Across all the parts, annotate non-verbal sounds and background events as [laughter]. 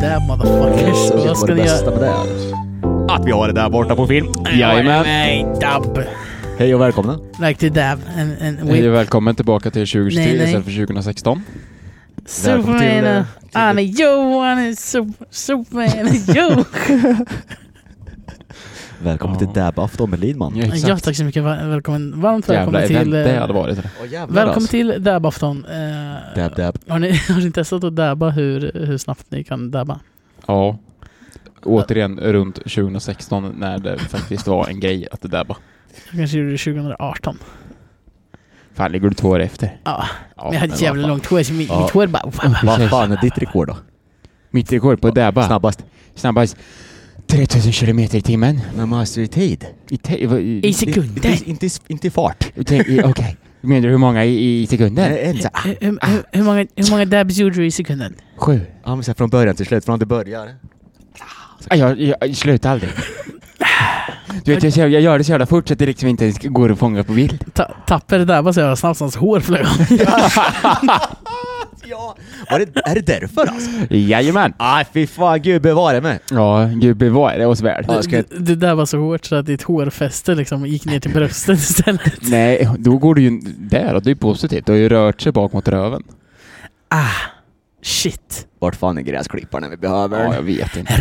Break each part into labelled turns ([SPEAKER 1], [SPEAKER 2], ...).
[SPEAKER 1] damn motherfuckers.
[SPEAKER 2] Shit,
[SPEAKER 3] typ
[SPEAKER 1] Vad ska
[SPEAKER 2] det
[SPEAKER 1] ni
[SPEAKER 2] bästa
[SPEAKER 1] göra?
[SPEAKER 2] med det är.
[SPEAKER 3] Att vi har det där borta på film. Jajamän.
[SPEAKER 1] Nej, dubb.
[SPEAKER 2] Hej och välkomna.
[SPEAKER 1] Like to dab and, and
[SPEAKER 3] Hej
[SPEAKER 1] whip.
[SPEAKER 3] och välkommen tillbaka till 2023
[SPEAKER 1] Nej, nej.
[SPEAKER 3] istället för 2016.
[SPEAKER 2] välkommen till, eh,
[SPEAKER 1] Superman.
[SPEAKER 2] till-
[SPEAKER 1] Han är Johan. är Sup- Superman. är
[SPEAKER 3] [laughs]
[SPEAKER 1] Joe.
[SPEAKER 2] Välkommen
[SPEAKER 3] Ja.
[SPEAKER 2] till Dab-afton med Lidman.
[SPEAKER 3] Ja,
[SPEAKER 1] Ja, tack så mycket. Var- Välkommen. Varmt
[SPEAKER 3] Jävla
[SPEAKER 1] välkommen
[SPEAKER 3] event
[SPEAKER 1] till... eh,
[SPEAKER 3] det hade varit. det.
[SPEAKER 2] Åh, jävlar,
[SPEAKER 1] Välkommen
[SPEAKER 2] alltså.
[SPEAKER 1] till Dabafton. Eh,
[SPEAKER 2] Dab, dab.
[SPEAKER 1] Har ni, [laughs] har ni testat att dabba hur, hur snabbt ni kan dabba?
[SPEAKER 3] Ja. Återigen runt 2016 när det faktiskt var en grej att det där bara...
[SPEAKER 1] Jag kanske gjorde det 2018.
[SPEAKER 3] Fan, ligger du två år efter?
[SPEAKER 1] Ja,
[SPEAKER 3] Ja,
[SPEAKER 1] men jag hade ett
[SPEAKER 3] vad
[SPEAKER 1] jävla
[SPEAKER 3] fan.
[SPEAKER 1] långt hår så mitt,
[SPEAKER 2] Ja.
[SPEAKER 1] mitt hår bara...
[SPEAKER 2] Vad fan är ditt rekord då?
[SPEAKER 3] Mitt rekord på Dabba.
[SPEAKER 2] Snabbast.
[SPEAKER 3] Snabbast. 3000 kilometer i timmen.
[SPEAKER 2] Men man måste ju i tid.
[SPEAKER 3] I te- vad- i-
[SPEAKER 1] I
[SPEAKER 2] Inte- Inte,
[SPEAKER 1] sekunder.
[SPEAKER 2] inte, inte i fart.
[SPEAKER 3] i te- i- Okej. Menar du hur många i, i sekunder?
[SPEAKER 2] Nej, en så här,
[SPEAKER 1] [laughs] Hur, hur, hur, många, hur många dabs gjorde du i sekunden?
[SPEAKER 3] Sju.
[SPEAKER 2] ja, men så här från början till slut, från att det börjar.
[SPEAKER 3] Ah, Jag, jag, jag slutar
[SPEAKER 1] [laughs]
[SPEAKER 3] aldrig. Du vet, jag, kör- jag gör det så jävla fort så att det liksom inte ens går att fånga på bild.
[SPEAKER 1] Ta, tappade dabba så jävla snabbt så hans hår flög av.
[SPEAKER 2] Ja! Var det, är det därför alltså?
[SPEAKER 3] Jajamän!
[SPEAKER 2] Nej fy fan, gud bevare mig!
[SPEAKER 3] Ja, gud bevare oss väl.
[SPEAKER 2] Ja, ska
[SPEAKER 1] Du, [laughs]
[SPEAKER 2] jag-
[SPEAKER 1] du dabbade så hårt så att ditt hårfäste liksom gick ner till bröstet istället.
[SPEAKER 3] Nej, då går du ju där och det är positivt. Du har ju rört sig bak mot röven.
[SPEAKER 1] Ah, shit.
[SPEAKER 2] Vart fan är gräsklipparen vi behöver
[SPEAKER 3] Ja, jag
[SPEAKER 2] den?
[SPEAKER 3] vet inte.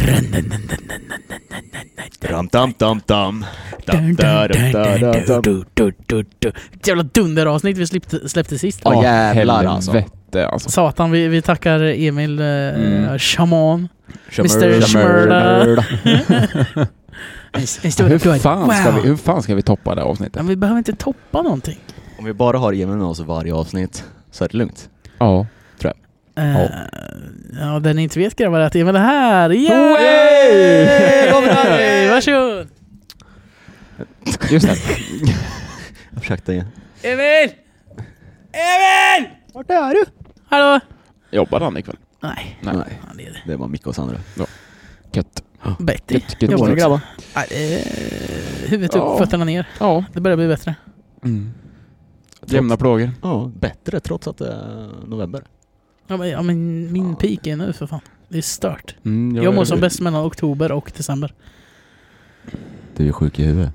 [SPEAKER 2] Dam, dam, dam, dam.
[SPEAKER 1] Dun,
[SPEAKER 2] Dam,
[SPEAKER 1] dun,
[SPEAKER 2] dam,
[SPEAKER 1] dun,
[SPEAKER 2] dam,
[SPEAKER 1] dun,
[SPEAKER 2] dam, dam.
[SPEAKER 1] dun, dun, dun, dun. Vilket Jävla dunderavsnitt vi släppte, släppte sist.
[SPEAKER 2] Ja, jävlar, alltså.
[SPEAKER 3] Helvete alltså.
[SPEAKER 1] Satan, vi, vi tackar Emil eh,
[SPEAKER 3] Mm.
[SPEAKER 1] Shaman. Mr.
[SPEAKER 2] Shamurda.
[SPEAKER 1] Smörda. En, en stor
[SPEAKER 3] Hur
[SPEAKER 1] applåd.
[SPEAKER 3] fan, ska
[SPEAKER 1] Wow.
[SPEAKER 3] vi, hur fan ska vi toppa det här avsnittet?
[SPEAKER 1] Men vi behöver inte toppa någonting.
[SPEAKER 2] Om vi bara har Emil med oss i varje avsnitt så är det lugnt.
[SPEAKER 3] Ja.
[SPEAKER 1] Eh, ja, den ni inte vet grabbar är att Emil är här.
[SPEAKER 3] Hey!
[SPEAKER 2] Kom här!
[SPEAKER 1] Yay! Varsågod!
[SPEAKER 3] Just det.
[SPEAKER 2] Jag försökte igen.
[SPEAKER 1] Emil! Emil!
[SPEAKER 2] Vart är du?
[SPEAKER 1] Hallå?
[SPEAKER 3] Jobbar han ikväll?
[SPEAKER 1] Nej,
[SPEAKER 3] Nej.
[SPEAKER 2] Nej,
[SPEAKER 1] han är det.
[SPEAKER 2] det var Micke och Sandra.
[SPEAKER 3] Gött.
[SPEAKER 1] Betty.
[SPEAKER 3] Gött, gött,
[SPEAKER 1] Jobbar
[SPEAKER 3] gött.
[SPEAKER 1] också.
[SPEAKER 2] grabbar?
[SPEAKER 1] Nej, eh, huvudet upp,
[SPEAKER 3] Ja.
[SPEAKER 1] fötterna ner.
[SPEAKER 3] Ja.
[SPEAKER 1] Det börjar bli bättre.
[SPEAKER 3] Mm. Jämna plågor.
[SPEAKER 2] Ja, bättre trots att det är november.
[SPEAKER 1] Ja, men, ja, men min peak är nu för fan. Det är stört.
[SPEAKER 3] Mm,
[SPEAKER 1] Jag mår som bäst mellan oktober och december.
[SPEAKER 2] Du är sjuk i huvudet.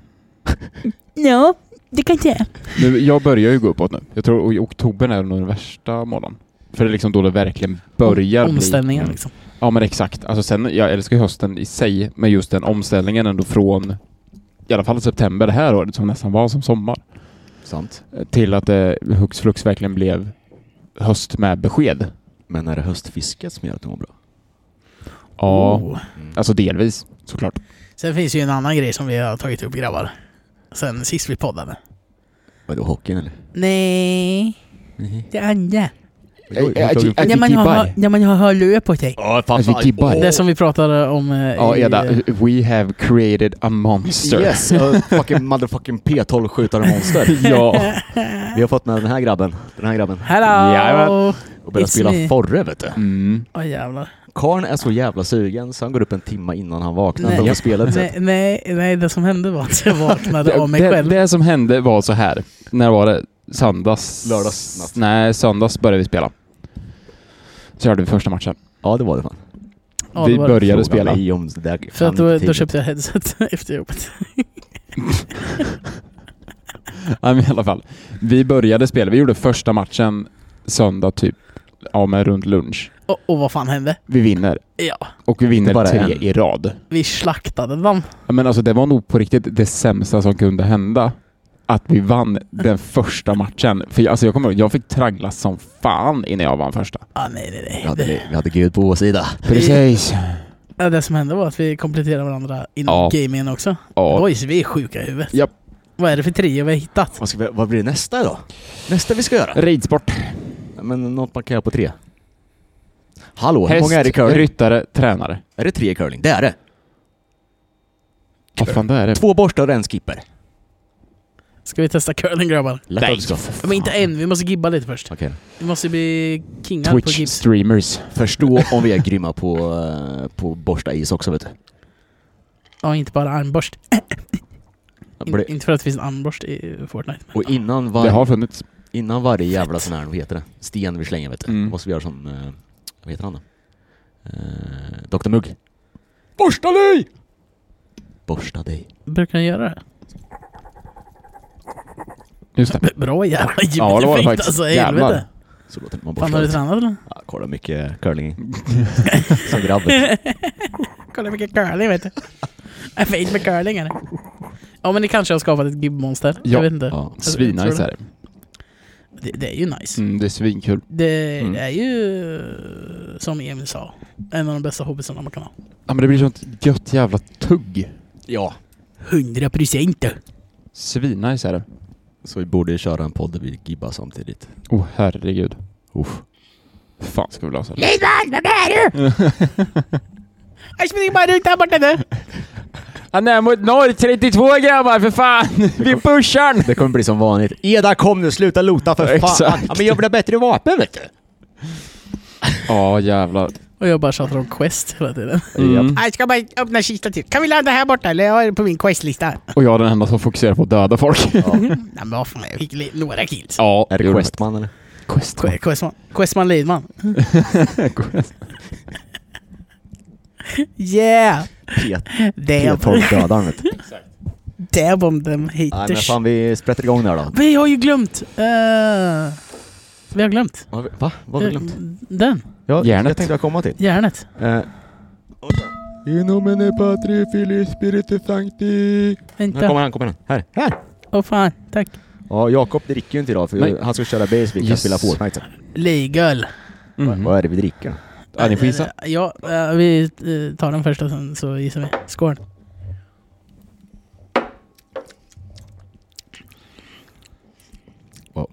[SPEAKER 1] Ja, det kan jag.
[SPEAKER 3] Nu, jag börjar ju gå uppåt nu. Jag tror i oktober är nog den värsta månaden. För det är liksom då det verkligen börjar bli-
[SPEAKER 1] Omställningen liksom.
[SPEAKER 3] Ja men exakt. Alltså sen, jag älskar ju hösten i sig, men just den omställningen ändå från i alla fall september det här året som nästan var som sommar
[SPEAKER 2] Sant.
[SPEAKER 3] till att det hux flux verkligen blev höst med besked.
[SPEAKER 2] Men är det höstfisket som gör att du mår bra?
[SPEAKER 3] Ja,
[SPEAKER 1] Oh.
[SPEAKER 3] alltså delvis såklart.
[SPEAKER 1] Sen finns ju en annan grej som vi har tagit upp grabbar. Sen sist vi poddade.
[SPEAKER 2] Vadå, hockeyn eller?
[SPEAKER 1] Nej,
[SPEAKER 2] Nej.
[SPEAKER 1] det andra.
[SPEAKER 3] Att vi
[SPEAKER 1] När man, har,
[SPEAKER 3] gibbar.
[SPEAKER 1] när man har hörlurar på sig.
[SPEAKER 2] Ja, fan,
[SPEAKER 3] Att vi gibbar.
[SPEAKER 1] Det som vi pratade om eh,
[SPEAKER 3] Ja
[SPEAKER 1] i...
[SPEAKER 3] Eda,
[SPEAKER 1] eh,
[SPEAKER 3] we have created a monster.
[SPEAKER 2] Yes, uh, fucking motherfucking P12 skjutande monster.
[SPEAKER 1] [laughs]
[SPEAKER 3] ja.
[SPEAKER 2] Vi har fått med den här grabben, den här grabben.
[SPEAKER 1] Hello!
[SPEAKER 3] Jajamän.
[SPEAKER 2] Och börjat
[SPEAKER 1] It's
[SPEAKER 2] spela
[SPEAKER 1] me.
[SPEAKER 2] Forre vet du.
[SPEAKER 3] Mm.
[SPEAKER 1] Åh jävlar.
[SPEAKER 2] Karln är så jävla sugen så han går upp en timme innan han vaknar
[SPEAKER 1] Nej.
[SPEAKER 2] för att spela
[SPEAKER 1] Nej,
[SPEAKER 2] spelet.
[SPEAKER 1] nej, nej, det som hände var att jag vaknade av
[SPEAKER 3] [laughs]
[SPEAKER 1] mig
[SPEAKER 3] Det,
[SPEAKER 1] själv.
[SPEAKER 3] det som hände var så här. När var det? Söndags?
[SPEAKER 2] Lördagsnatt.
[SPEAKER 3] Nej, söndags började vi spela. Så körde vi första matchen.
[SPEAKER 2] Ja det var det fan.
[SPEAKER 1] Ja, det
[SPEAKER 3] vi
[SPEAKER 1] var det.
[SPEAKER 3] började
[SPEAKER 2] Fråga
[SPEAKER 3] spela.
[SPEAKER 2] mig om det där
[SPEAKER 1] För
[SPEAKER 2] kan
[SPEAKER 1] att då,
[SPEAKER 2] inte
[SPEAKER 1] då
[SPEAKER 2] till.
[SPEAKER 1] köpte jag headset [laughs] efter jobbet.
[SPEAKER 3] [laughs] Ja, men i alla fall. Vi började spela. Vi gjorde första matchen söndag typ, ja men runt lunch.
[SPEAKER 1] Och, och vad fan hände?
[SPEAKER 3] Vi vinner.
[SPEAKER 1] Ja,
[SPEAKER 3] Och vi vinner
[SPEAKER 2] bara
[SPEAKER 3] tre
[SPEAKER 2] en.
[SPEAKER 3] i rad.
[SPEAKER 1] vi slaktade dem.
[SPEAKER 3] Ja, Men alltså det var nog på riktigt det sämsta som kunde hända. Att vi vann den första matchen. För jag, alltså jag kommer ihåg, jag fick traggla som fan innan jag vann första.
[SPEAKER 1] Ah, nej, nej, nej.
[SPEAKER 2] Vi hade,
[SPEAKER 1] det,
[SPEAKER 2] vi hade Gud på vår sida.
[SPEAKER 3] Precis.
[SPEAKER 1] ja, det som hände var att vi kompletterade varandra inom
[SPEAKER 3] Ja.
[SPEAKER 1] gamingen också.
[SPEAKER 3] Ja.
[SPEAKER 1] Boys, vi är sjuka i huvudet.
[SPEAKER 3] Japp.
[SPEAKER 1] Vad är det för trio vi har hittat?
[SPEAKER 2] Vad, ska vi, vad blir det nästa då? Nästa vi ska göra?
[SPEAKER 3] Ridsport.
[SPEAKER 2] Men något man kan göra på tre. Hallå, hur
[SPEAKER 3] Häst,
[SPEAKER 2] många är det i curling?
[SPEAKER 3] ryttare, tränare.
[SPEAKER 2] Är det tre i curling? Det är det.
[SPEAKER 3] Vad fan det är det?
[SPEAKER 2] Två borstar och en skipper.
[SPEAKER 1] Ska vi testa curling grabbar?
[SPEAKER 2] Lätt
[SPEAKER 3] Nej,
[SPEAKER 2] att ska.
[SPEAKER 1] Men inte än, vi måste gibba lite först.
[SPEAKER 2] Okej.
[SPEAKER 1] Vi måste bli kingar på gibbs.
[SPEAKER 3] Twitch-streamers.
[SPEAKER 2] Förstå om vi är grymma på, eh, på borsta is också vet du.
[SPEAKER 1] Ja, inte bara armborst. In,
[SPEAKER 2] Bli-
[SPEAKER 1] inte för att det finns en armborst i Fortnite. men-
[SPEAKER 2] Och innan,
[SPEAKER 3] Det
[SPEAKER 2] var,
[SPEAKER 3] har funnits.
[SPEAKER 2] innan varje jävla sån här, vad heter det? Sten vi slänger vet du.
[SPEAKER 3] Mm.
[SPEAKER 2] Måste vi göra som, eh, vad heter han då? Eh, Dr Mugg,
[SPEAKER 3] Borsta dig!
[SPEAKER 2] borsta dig.
[SPEAKER 1] Brukar den göra det?
[SPEAKER 3] Just det.
[SPEAKER 1] B- Bra jävla gymeffekt
[SPEAKER 3] Ja, det var det faktiskt.
[SPEAKER 1] alltså,
[SPEAKER 3] Jävlar.
[SPEAKER 1] helvete.
[SPEAKER 2] Så låter det man
[SPEAKER 1] Fan,
[SPEAKER 2] borsta
[SPEAKER 1] har du
[SPEAKER 2] ut.
[SPEAKER 1] tränat eller?
[SPEAKER 2] Ja, kolla mycket curling. [laughs] Som grabb.
[SPEAKER 1] Kolla mycket curling vet du. Jag är fint med curling eller? Ja men det kanske har skapat ett gibmonster.
[SPEAKER 3] Ja.
[SPEAKER 1] Jag vet inte.
[SPEAKER 2] Ja.
[SPEAKER 3] Svinnice är det.
[SPEAKER 1] Det, det är ju nice.
[SPEAKER 3] Mm, det är svinkul.
[SPEAKER 1] Det
[SPEAKER 3] Mm.
[SPEAKER 1] är ju, som Emil sa, en av de bästa hobbysarna man kan ha.
[SPEAKER 3] Ja, men det blir sånt gött jävla tugg.
[SPEAKER 2] ja.
[SPEAKER 1] 100 procent!
[SPEAKER 3] Svinnice är det.
[SPEAKER 2] Så vi borde ju köra en podd där vi gibbar samtidigt.
[SPEAKER 3] Åh oh, herregud.
[SPEAKER 2] Uff.
[SPEAKER 3] fan ska vi lösa det?
[SPEAKER 1] Lisbon, vad är du? Jag springer bara runt här borta nu.
[SPEAKER 3] Han är mot norr 32 grabbar för [laughs] fan! Vi pushar den!
[SPEAKER 2] Det kommer bli som vanligt. Eda kom nu, sluta lota för fan!
[SPEAKER 3] Exakt.
[SPEAKER 2] Ja, men jag vill ha bättre vapen vet du!
[SPEAKER 3] Ja jävlar.
[SPEAKER 1] Och jag bara tjatar om Quest hela tiden.
[SPEAKER 3] Mm.
[SPEAKER 1] Jag ska bara öppna kistan till. Kan vi landa här borta eller? Jag har det på min Quest-lista.
[SPEAKER 3] Och jag är den enda som fokuserar på att döda folk.
[SPEAKER 1] Nej men vad fan, jag fick li- några kills.
[SPEAKER 3] [laughs] Ja,
[SPEAKER 2] Är det
[SPEAKER 3] gjorde
[SPEAKER 2] Questman eller?
[SPEAKER 3] man. Quest.
[SPEAKER 1] Que- Questman, Questman Lidman.
[SPEAKER 3] Quest.
[SPEAKER 1] Yeah! Damn,
[SPEAKER 2] P12-dödaren vet du.
[SPEAKER 1] damn om them
[SPEAKER 2] Nej men
[SPEAKER 1] haters.
[SPEAKER 2] fan vi sprätter igång där då.
[SPEAKER 1] Vi har ju glömt... eh, vi har glömt. eh,
[SPEAKER 2] Va? Vad har vi glömt?
[SPEAKER 1] Den,
[SPEAKER 2] Ja,
[SPEAKER 3] Järnet.
[SPEAKER 2] Jag tänkte jag komma till.
[SPEAKER 1] järnet.
[SPEAKER 2] Eh. In nomine Patri Filii Spiritus Sancti. Här
[SPEAKER 1] Vänta.
[SPEAKER 2] kommer han, kommer han. Här, här!
[SPEAKER 1] Åh fan, tack.
[SPEAKER 2] Ja, Jakob det dricker ju inte idag för
[SPEAKER 3] Nej.
[SPEAKER 2] han ska köra Baseball och
[SPEAKER 3] Yes.
[SPEAKER 2] spela Fortnite sen.
[SPEAKER 1] Legal.
[SPEAKER 3] Mm.
[SPEAKER 2] Vad är det vi dricker?
[SPEAKER 3] Ja, ni får gissa.
[SPEAKER 1] Ja, eh, vi eh, tar den första sen så gissar vi. Skål.
[SPEAKER 2] Wow.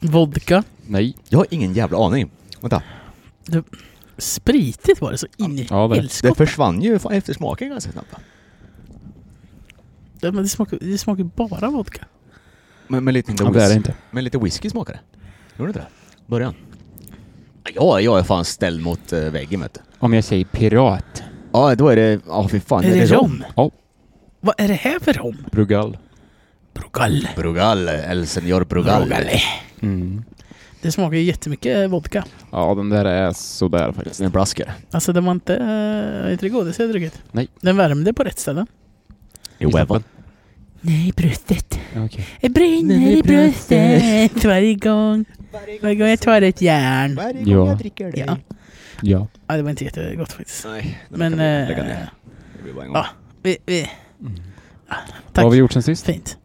[SPEAKER 1] Vodka.
[SPEAKER 3] Nej.
[SPEAKER 2] Jag har ingen jävla aning. Vänta,
[SPEAKER 1] Spritigt var det så in i
[SPEAKER 3] Ja, det-
[SPEAKER 2] det
[SPEAKER 1] helskotta.
[SPEAKER 2] försvann ju fan eftersmaken ganska snabbt. va?
[SPEAKER 1] Ja, men Det smakar det smakar bara vodka.
[SPEAKER 2] Men, men, lite,
[SPEAKER 3] Ja, det är det inte.
[SPEAKER 2] men lite whisky smakade det. Gjorde det inte det? Början. Ja, jag är fan ställd mot eh, väggen vet du.
[SPEAKER 3] Om jag säger pirat.
[SPEAKER 2] Ja, då är det... Ja, fy fan.
[SPEAKER 1] Är det rom?
[SPEAKER 3] Ja.
[SPEAKER 1] Vad är det här för rom?
[SPEAKER 3] Brugal.
[SPEAKER 1] Brugal.
[SPEAKER 2] Brugal, El Señor Brugal.
[SPEAKER 3] Mm.
[SPEAKER 1] Det smakar ju jättemycket vodka.
[SPEAKER 3] Ja, den där är sådär faktiskt.
[SPEAKER 2] En blasker.
[SPEAKER 1] Alltså den var inte, eh, inte det godaste jag druckit.
[SPEAKER 3] Nej.
[SPEAKER 1] Den värmde på rätt ställe.
[SPEAKER 2] I Wevan.
[SPEAKER 1] Nej, bröstet.
[SPEAKER 3] Okej.
[SPEAKER 1] Jag brinner i bröstet varje gång. Varje gång jag tar ett järn.
[SPEAKER 2] Varje
[SPEAKER 3] gång Ja. jag
[SPEAKER 2] dricker
[SPEAKER 1] dig. Ja.
[SPEAKER 2] Ja.
[SPEAKER 3] Ja.
[SPEAKER 1] Ja, det var inte jättegott faktiskt.
[SPEAKER 2] Nej, den
[SPEAKER 1] Men...
[SPEAKER 2] kan vi lägga
[SPEAKER 1] Eh,
[SPEAKER 2] ner. Det blir bara en gång.
[SPEAKER 1] ja. Vi, vi,
[SPEAKER 3] Vad
[SPEAKER 1] tack.
[SPEAKER 3] har vi gjort sen sist?
[SPEAKER 1] Fint.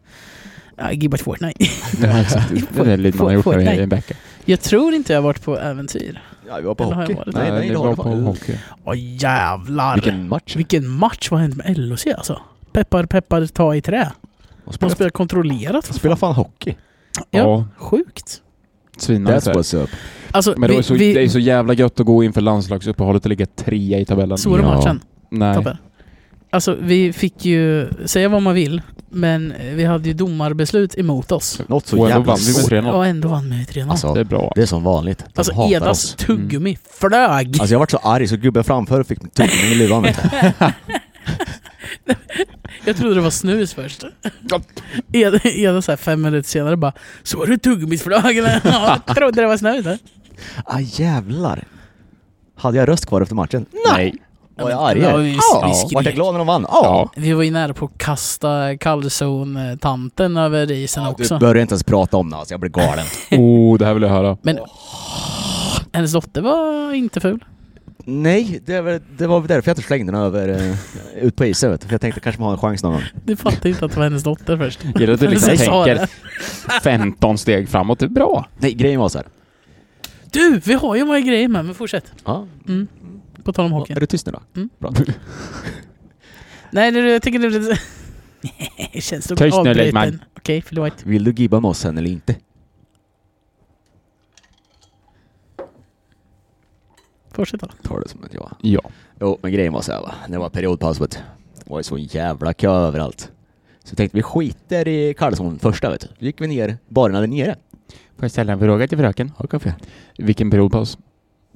[SPEAKER 1] Ja, gibbat Fortnite.
[SPEAKER 3] Ja, exakt. Det är lite man har gjort
[SPEAKER 1] Fortnite.
[SPEAKER 3] i en vecka.
[SPEAKER 1] [laughs] Jag tror inte jag har varit på äventyr.
[SPEAKER 2] Ja, vi var på
[SPEAKER 1] Eller har
[SPEAKER 2] hockey.
[SPEAKER 1] jag varit?
[SPEAKER 2] Nej, nej,
[SPEAKER 3] det
[SPEAKER 2] det
[SPEAKER 3] var
[SPEAKER 2] har
[SPEAKER 3] på
[SPEAKER 2] på
[SPEAKER 3] hockey.
[SPEAKER 1] Åh jävlar. Vilken,
[SPEAKER 2] Vilken match.
[SPEAKER 1] match. Vad har hänt med LHC alltså? Peppar, peppar, ta i trä.
[SPEAKER 2] De
[SPEAKER 1] De
[SPEAKER 2] spelar,
[SPEAKER 1] spelar kontrollerat.
[SPEAKER 2] de spelar fan hockey.
[SPEAKER 1] Ja.
[SPEAKER 3] Ja.
[SPEAKER 1] Sjukt.
[SPEAKER 3] Svinnice.
[SPEAKER 2] up.
[SPEAKER 1] Alltså,
[SPEAKER 3] Men det,
[SPEAKER 1] vi,
[SPEAKER 3] var så,
[SPEAKER 1] vi
[SPEAKER 3] det är så jävla gött att gå inför landslagsuppehållet och ligga trea i tabellen.
[SPEAKER 1] såg du
[SPEAKER 2] Ja.
[SPEAKER 1] matchen?
[SPEAKER 3] Nej.
[SPEAKER 1] Tobbe. Alltså vi fick ju, säga vad man vill, men vi hade ju domarbeslut emot oss.
[SPEAKER 2] Något så
[SPEAKER 3] Och ändå
[SPEAKER 2] jävla
[SPEAKER 3] vann vi med
[SPEAKER 2] svårt.
[SPEAKER 3] 3-0.
[SPEAKER 1] Och ändå vann vi med 3-0. Alltså,
[SPEAKER 2] Alltså,
[SPEAKER 3] Det är bra.
[SPEAKER 2] det är som vanligt. De hatar
[SPEAKER 1] Edas
[SPEAKER 2] oss. Mm.
[SPEAKER 1] tuggummi flög!
[SPEAKER 2] Alltså jag vart så arg så gubben framför fick typ mig tuggummi i luvan. vet du.
[SPEAKER 1] Jag trodde det var snus
[SPEAKER 2] [laughs]
[SPEAKER 1] först. Eda, Eda så här fem minuter senare bara Såg du tuggummit flög eller? [laughs] Ja, jag trodde det var snus. eller?"
[SPEAKER 2] Ah jävlar. Hade jag röst kvar efter matchen? Nej. Var jag arg?
[SPEAKER 1] Ja, vi- vi
[SPEAKER 2] Ja.
[SPEAKER 1] skrek.
[SPEAKER 2] Vart jag glad när de vann? Ja.
[SPEAKER 1] Vi var ju nära på att kasta kalzon-tanten över isen
[SPEAKER 2] Du
[SPEAKER 1] också.
[SPEAKER 2] börjar inte ens prata om det alltså, jag blir galen.
[SPEAKER 3] Oh, det här vill jag höra.
[SPEAKER 1] Men hennes dotter var inte ful.
[SPEAKER 2] Nej, det var, det var väl därför jag inte slängde den över eh, ut på isen vet du. För jag tänkte kanske man har en chans någon gång.
[SPEAKER 1] Du fattade inte att det var hennes dotter först.
[SPEAKER 3] Gäller att du liksom
[SPEAKER 1] Jag sa det.
[SPEAKER 3] tänker 15 steg framåt. Det är bra.
[SPEAKER 2] Nej, grejen var så här.
[SPEAKER 1] Du, vi har ju många grejer med, men fortsätt.
[SPEAKER 2] Ja.
[SPEAKER 1] Mm. På tal om hockey.
[SPEAKER 2] Är du tyst nu då?
[SPEAKER 1] Mm.
[SPEAKER 2] Bra.
[SPEAKER 1] Nej, det, jag tycker det... [laughs] Nej, känns som
[SPEAKER 3] Tyst nu,
[SPEAKER 1] avbruten.
[SPEAKER 3] Lidman.
[SPEAKER 1] Okej, förlåt.
[SPEAKER 2] Vill du gibba med oss sen eller inte?
[SPEAKER 1] Fortsätt då.
[SPEAKER 2] Tar det som att jag...
[SPEAKER 3] Ja.
[SPEAKER 2] Jo, men grejen var så här va. När det var periodpaus vet du. Det var ju så jävla kö överallt. Så tänkte vi skiter i Karlsson första vet du. Då gick vi ner, baren hade nere.
[SPEAKER 3] Får jag ställa en fråga till fröken?
[SPEAKER 2] Har du kaffe?
[SPEAKER 3] Vilken periodpaus?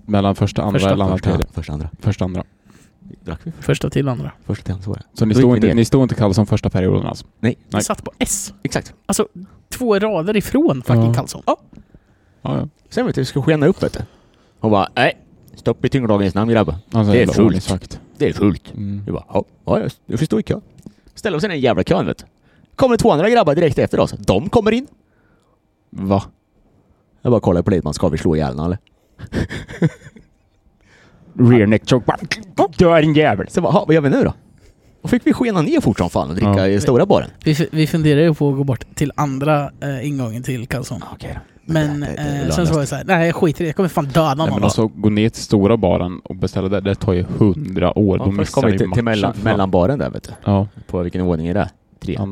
[SPEAKER 3] Mellan första, andra
[SPEAKER 1] Första.
[SPEAKER 3] eller andra
[SPEAKER 2] Första,
[SPEAKER 3] tredje?
[SPEAKER 2] första, andra.
[SPEAKER 3] Första, andra.
[SPEAKER 2] Drack vi?
[SPEAKER 1] Första till andra.
[SPEAKER 2] Första till andra så var det.
[SPEAKER 3] Så ni
[SPEAKER 2] Då
[SPEAKER 3] stod
[SPEAKER 2] gick vi
[SPEAKER 3] inte,
[SPEAKER 2] ner.
[SPEAKER 3] ni stod inte kallade som första perioden alltså?
[SPEAKER 1] Vi
[SPEAKER 3] Nej.
[SPEAKER 1] satt på S.
[SPEAKER 2] Exakt.
[SPEAKER 1] Alltså, två rader ifrån fucking
[SPEAKER 3] Ja.
[SPEAKER 1] Karlsson.
[SPEAKER 3] Ja, ja.
[SPEAKER 2] Sen vet du, vi skulle skena upp vet du. Hon bara, nej. Stopp i tyngdlagens namn grabbar.
[SPEAKER 3] Alltså,
[SPEAKER 2] Det är
[SPEAKER 3] jävla
[SPEAKER 2] fult.
[SPEAKER 3] olycksfakt.
[SPEAKER 2] Det är fult.
[SPEAKER 3] Mm.
[SPEAKER 2] Vi bara, ja, ja, nu får vi stå i kö. Ställer oss i den här jävla kön vet du. Kommer två andra grabbar direkt efter oss. De kommer in.
[SPEAKER 3] Va?
[SPEAKER 2] Jag bara kollar på Lidman, ska vi slå ihjäl honom eller?
[SPEAKER 3] Rear neck choke. bara, Dö din jävel!
[SPEAKER 2] Så jag bara, "Ha, vad gör vi nu då? Då fick vi skena ner fort som fan och dricka
[SPEAKER 3] Ja.
[SPEAKER 2] i stora baren.
[SPEAKER 1] Vi, f- vi funderar ju på att gå bort till andra eh, ingången till Karlsson.
[SPEAKER 2] Okej då.
[SPEAKER 1] Men
[SPEAKER 2] det- det- det är
[SPEAKER 1] eh,
[SPEAKER 2] väl
[SPEAKER 1] sen så
[SPEAKER 2] lönlöst.
[SPEAKER 1] var jag såhär, nej jag skiter i det, jag kommer fan döda någon
[SPEAKER 3] Nej, men
[SPEAKER 1] av dem.
[SPEAKER 3] alltså, gå ner till stora baren och beställa där, det tar ju hundra år.
[SPEAKER 2] Ja,
[SPEAKER 3] Då
[SPEAKER 2] först
[SPEAKER 3] missar
[SPEAKER 2] kom vi
[SPEAKER 3] vi
[SPEAKER 2] till, till
[SPEAKER 3] matchen.
[SPEAKER 2] mellan,
[SPEAKER 3] Fan.
[SPEAKER 2] mellanbaren där vet du.
[SPEAKER 3] Ja,
[SPEAKER 2] På vilken ordning är det? Tre. Fyra.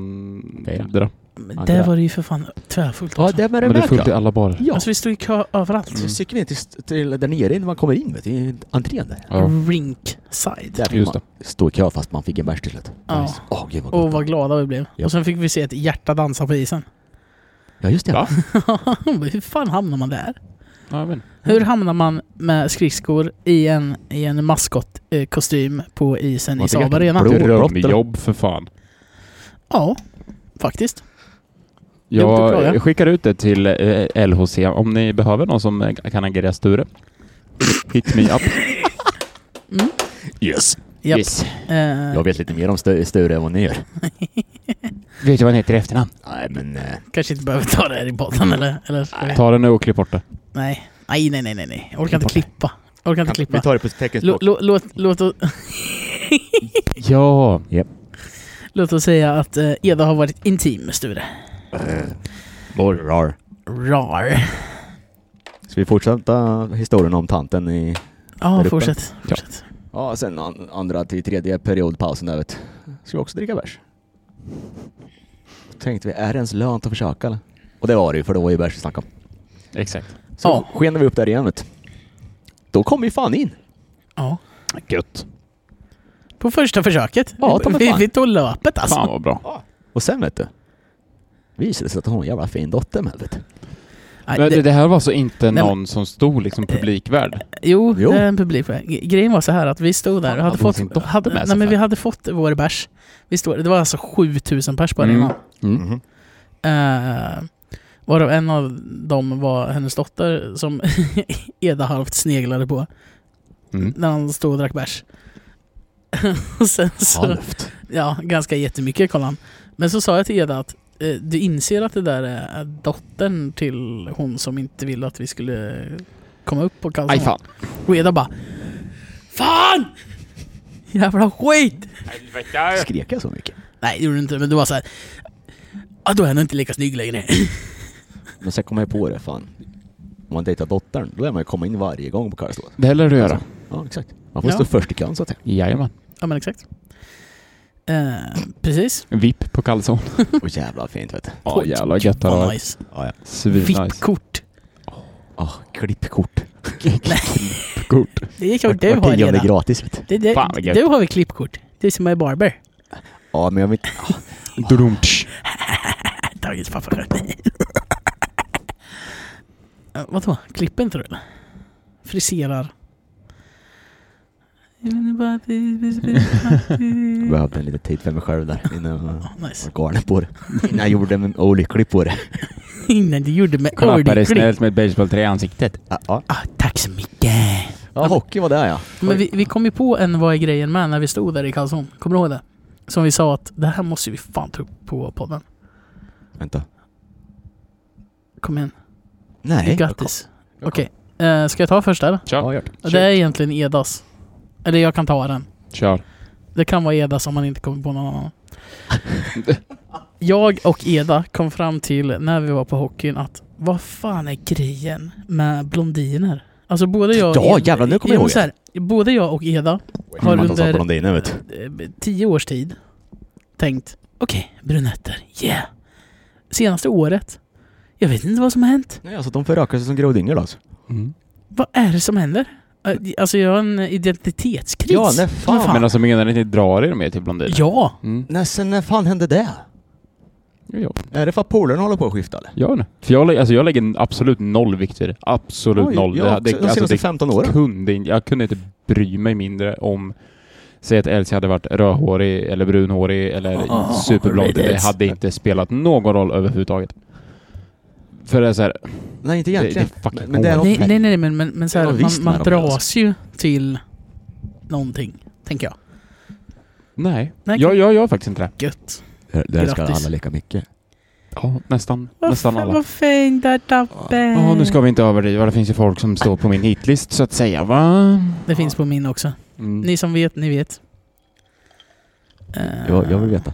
[SPEAKER 3] andra.
[SPEAKER 1] Men
[SPEAKER 2] Ja,
[SPEAKER 1] där
[SPEAKER 2] det-
[SPEAKER 1] var det ju för fan tvärfullt
[SPEAKER 2] Ja,
[SPEAKER 1] också.
[SPEAKER 2] det är med
[SPEAKER 3] Men det är fullt i
[SPEAKER 2] Rebecka.
[SPEAKER 3] alla barer.
[SPEAKER 2] Ja.
[SPEAKER 1] Alltså vi stod i kö överallt.
[SPEAKER 2] Så cykeln in till, till där nere innan man kommer in vet du, i entrén där.
[SPEAKER 3] Ja,
[SPEAKER 1] Rinkside.
[SPEAKER 2] Där fick
[SPEAKER 3] just det.
[SPEAKER 2] man stå i kö fast man fick en bärs till slut.
[SPEAKER 1] Ja.
[SPEAKER 2] Nice. Åh gud vad gott.
[SPEAKER 1] Och vad glada vi blev.
[SPEAKER 2] Ja.
[SPEAKER 1] Och sen fick vi se ett hjärta dansa på isen. [laughs]
[SPEAKER 2] Ja just det.
[SPEAKER 3] Va?
[SPEAKER 1] Hur fan hamnar man där?
[SPEAKER 3] Ja, men.
[SPEAKER 1] Hur hamnar man med skridskor i en, i en maskottkostym på isen i
[SPEAKER 2] Man tycker
[SPEAKER 1] Saab
[SPEAKER 2] att det är
[SPEAKER 1] Arena?
[SPEAKER 2] blå-
[SPEAKER 3] Drömjobb för fan.
[SPEAKER 1] Ja, faktiskt. Dumt att klaga.
[SPEAKER 3] Jag skickar ut det till eh, LHC om ni behöver någon som eh, kan agera Sture. Hit me up.
[SPEAKER 2] Yes.
[SPEAKER 1] Japp.
[SPEAKER 2] [laughs] yes.
[SPEAKER 1] Eh,
[SPEAKER 2] Jag vet lite mer om Stu- Sture än vad ni gör.
[SPEAKER 3] Vet du vad han heter i efternamn?
[SPEAKER 2] Nej men... eh,
[SPEAKER 1] kanske inte behöver ta det här i podden eller? eller
[SPEAKER 3] Ta den nu och klipp bort det.
[SPEAKER 1] nej. nej, nej, nej, nej, nej. Jag orkar inte klippa. Jag orkar inte klippa.
[SPEAKER 2] tar det på
[SPEAKER 1] Lå-
[SPEAKER 2] teckenspråk.
[SPEAKER 1] lå- Låt, låt, låt,
[SPEAKER 3] Ja.
[SPEAKER 1] låt oss säga att eh, Eda har varit intim med Sture.
[SPEAKER 2] Borrar.
[SPEAKER 1] Rar.
[SPEAKER 2] Ska vi fortsätta historien om tanten i...
[SPEAKER 1] Ja,
[SPEAKER 2] Där uppe.
[SPEAKER 1] fortsätt.
[SPEAKER 3] Ja.
[SPEAKER 1] fortsätt.
[SPEAKER 2] Ja, sen an- andra till tredje periodpausen där vet du. Ska vi också dricka bärs? Tänkte vi, är det ens lönt att försöka eller? Och det var det ju, för det var ju bärs vi snackade om.
[SPEAKER 3] Exakt.
[SPEAKER 2] Så
[SPEAKER 1] Ja.
[SPEAKER 2] skenade vi upp där igen vet du. Då kom vi fan in.
[SPEAKER 1] Ja.
[SPEAKER 3] Gött.
[SPEAKER 1] På första försöket.
[SPEAKER 2] Ja, ta mig
[SPEAKER 1] vi,
[SPEAKER 2] fan.
[SPEAKER 1] vi tog löpet alltså.
[SPEAKER 3] Fan vad bra.
[SPEAKER 2] Och sen vet du. Visade det sig att hon har en jävla fin dotter med vet du.
[SPEAKER 1] Nej,
[SPEAKER 3] Men
[SPEAKER 1] det-
[SPEAKER 3] det, det här var alltså inte
[SPEAKER 1] men-
[SPEAKER 3] någon som stod liksom publikvärd?
[SPEAKER 1] Jo,
[SPEAKER 2] Jo.
[SPEAKER 1] det är en publik. G- Grejen var så här att vi stod där och
[SPEAKER 2] Fan,
[SPEAKER 1] hade
[SPEAKER 2] hade hon sin
[SPEAKER 1] fått,
[SPEAKER 2] dotter
[SPEAKER 1] hade,
[SPEAKER 2] med sig
[SPEAKER 1] nej, men
[SPEAKER 2] för?
[SPEAKER 1] vi hade fått vår bärs. Vi stod, det var alltså 7000 pers på arenan.
[SPEAKER 3] Mm.
[SPEAKER 2] Mhm.
[SPEAKER 1] Eh, varav en av dem var hennes dotter som [laughs] Eda halvt sneglade på
[SPEAKER 3] Mm.
[SPEAKER 1] när han stod och drack bärs. [laughs] och sen så,
[SPEAKER 2] Halvt.
[SPEAKER 1] ja, ganska jättemycket kollade han. Men så sa jag till Eda att eh, du inser att det där är dottern till hon som inte ville att vi skulle komma upp på
[SPEAKER 3] Aj
[SPEAKER 1] Karlsson.
[SPEAKER 3] fan.
[SPEAKER 1] Och Eda bara Fan! Jävla skit!
[SPEAKER 2] Skrek jag så mycket?
[SPEAKER 1] Nej det gjorde du inte, men du var såhär Ja då är jag nog inte lika snygg längre.
[SPEAKER 2] Men sen kom jag på det, fan. Om man dejtar dottern, då är man ju komma in varje gång på Karlstad.
[SPEAKER 3] Det lär du göra.
[SPEAKER 2] Ja, exakt. Man får
[SPEAKER 1] Ja.
[SPEAKER 2] stå först i kön så att [laughs] säga.
[SPEAKER 3] Jajamän.
[SPEAKER 1] ja men exakt. Eh, precis.
[SPEAKER 3] VIP på kalsong.
[SPEAKER 2] Och jävla fint vet du.
[SPEAKER 3] Ja jävlar gött det
[SPEAKER 1] Vad
[SPEAKER 3] var.
[SPEAKER 1] nice.
[SPEAKER 2] Ja, ja.
[SPEAKER 3] Svinnice.
[SPEAKER 1] VIP-kort.
[SPEAKER 2] Oh, klippkort.
[SPEAKER 3] Kort.
[SPEAKER 1] Det är klart du har
[SPEAKER 2] tionde
[SPEAKER 1] redan.
[SPEAKER 2] gratis vet du.
[SPEAKER 1] Det, det,
[SPEAKER 3] Fan, vad gött.
[SPEAKER 1] du har väl klippkort? Du som är barber. [laughs]
[SPEAKER 2] Ja, men jag vill...
[SPEAKER 3] Drumtsch.
[SPEAKER 1] Äh, Dagens pappa sköt mig. Eh, Vadå? Klipper inte du eller? Friserar? Jag menar bara att
[SPEAKER 2] Jag
[SPEAKER 3] [laughs]
[SPEAKER 1] det-
[SPEAKER 2] behövde en liten tid för mig själv där innan jag
[SPEAKER 1] Ja, nice.
[SPEAKER 2] var galen på [laughs] det. Innan jag gjorde mig olycklig på det.
[SPEAKER 1] Innan du gjorde mig
[SPEAKER 3] Klappar dig
[SPEAKER 1] ordentlig.
[SPEAKER 3] snällt med ett basebollträ i ansiktet.
[SPEAKER 2] Ja, ja.
[SPEAKER 1] Ah, tack så mycket.
[SPEAKER 2] ja hockey var det ja.
[SPEAKER 1] Men vi, vi kom ju på en vad är grejen med när vi stod där i kalsong. Kommer du ihåg det? Som vi sa att det här måste vi fan ta upp på podden.
[SPEAKER 2] Vänta.
[SPEAKER 1] Kom igen.
[SPEAKER 2] Nej.
[SPEAKER 1] Grattis. Okej. Eh, ska jag ta först eller?
[SPEAKER 2] Ja,
[SPEAKER 3] Kör.
[SPEAKER 2] jag har gjort.
[SPEAKER 1] Det är egentligen Edas. Eller jag kan ta den.
[SPEAKER 3] Kör.
[SPEAKER 1] Det kan vara Eda som man inte kommer på någon
[SPEAKER 2] [laughs]
[SPEAKER 1] annan. Jag och Eda kom fram till när vi var på hockeyn att vad fan är grejen med blondiner? Alltså både jag och
[SPEAKER 2] Ja, jävlar, nu kommer jag
[SPEAKER 1] men
[SPEAKER 2] ihåg
[SPEAKER 1] så här, Både jag och Eda har
[SPEAKER 2] Man tar
[SPEAKER 1] under-
[SPEAKER 2] saker om dina, vet du.
[SPEAKER 1] eh, tio års tid tänkt okej, brunetter, yeah. Senaste året, jag vet inte vad som har hänt.
[SPEAKER 2] Nej, alltså de förökar sig som grodyngel alltså.
[SPEAKER 3] Mm.
[SPEAKER 1] Vad är det som händer? Eh, Alltså jag har en identitetskris.
[SPEAKER 2] Ja, nej, fan.
[SPEAKER 1] Men
[SPEAKER 3] Men alltså menar ni att ni drar er mer till blondiner?
[SPEAKER 1] Ja,
[SPEAKER 3] Mm.
[SPEAKER 2] Nej, sen när fan hände det?
[SPEAKER 3] Jo, jo.
[SPEAKER 2] Är det för att polarna håller på att skifta eller?
[SPEAKER 3] Ja, nej. För jag, lä- alltså, jag lägger absolut noll vikt vid det. Absolut
[SPEAKER 2] Oj,
[SPEAKER 3] noll.
[SPEAKER 2] Jag,
[SPEAKER 3] det,
[SPEAKER 2] det,
[SPEAKER 3] här- det,
[SPEAKER 2] de senaste
[SPEAKER 3] alltså, det
[SPEAKER 2] 15 åren.
[SPEAKER 3] kunde inte, jag kunde inte bry mig mindre om Säg att Elsie hade varit rödhårig eller brunhårig eller
[SPEAKER 1] Ah,
[SPEAKER 3] superblond. Det
[SPEAKER 1] right.
[SPEAKER 3] hade inte spelat någon roll överhuvudtaget. För det är så här,
[SPEAKER 2] Nej, inte
[SPEAKER 3] det, det är
[SPEAKER 2] egentligen.
[SPEAKER 3] fucking
[SPEAKER 2] Men det är
[SPEAKER 3] hårt.
[SPEAKER 2] de-
[SPEAKER 1] Nej, nej, nej, men, men, men så här,
[SPEAKER 2] Ja,
[SPEAKER 1] man,
[SPEAKER 2] visst,
[SPEAKER 1] man
[SPEAKER 2] nej, de
[SPEAKER 1] dras
[SPEAKER 2] löser.
[SPEAKER 1] ju till någonting, tänker jag.
[SPEAKER 3] Nej,
[SPEAKER 1] Nej.
[SPEAKER 3] jag, jag gör faktiskt inte det.
[SPEAKER 1] Gött.
[SPEAKER 2] Där, där ska
[SPEAKER 1] Grattis.
[SPEAKER 2] alla lika mycket.
[SPEAKER 3] Ja, nästan, nästan alla.
[SPEAKER 1] Vad fint där uppe.
[SPEAKER 3] Ja, nu ska vi inte överdriva. Det finns ju folk som står på min hitlist så att säga, va?
[SPEAKER 1] Det finns på min också.
[SPEAKER 3] Mm.
[SPEAKER 1] Ni som vet, ni vet. Eh,
[SPEAKER 2] Jag, jag vill veta.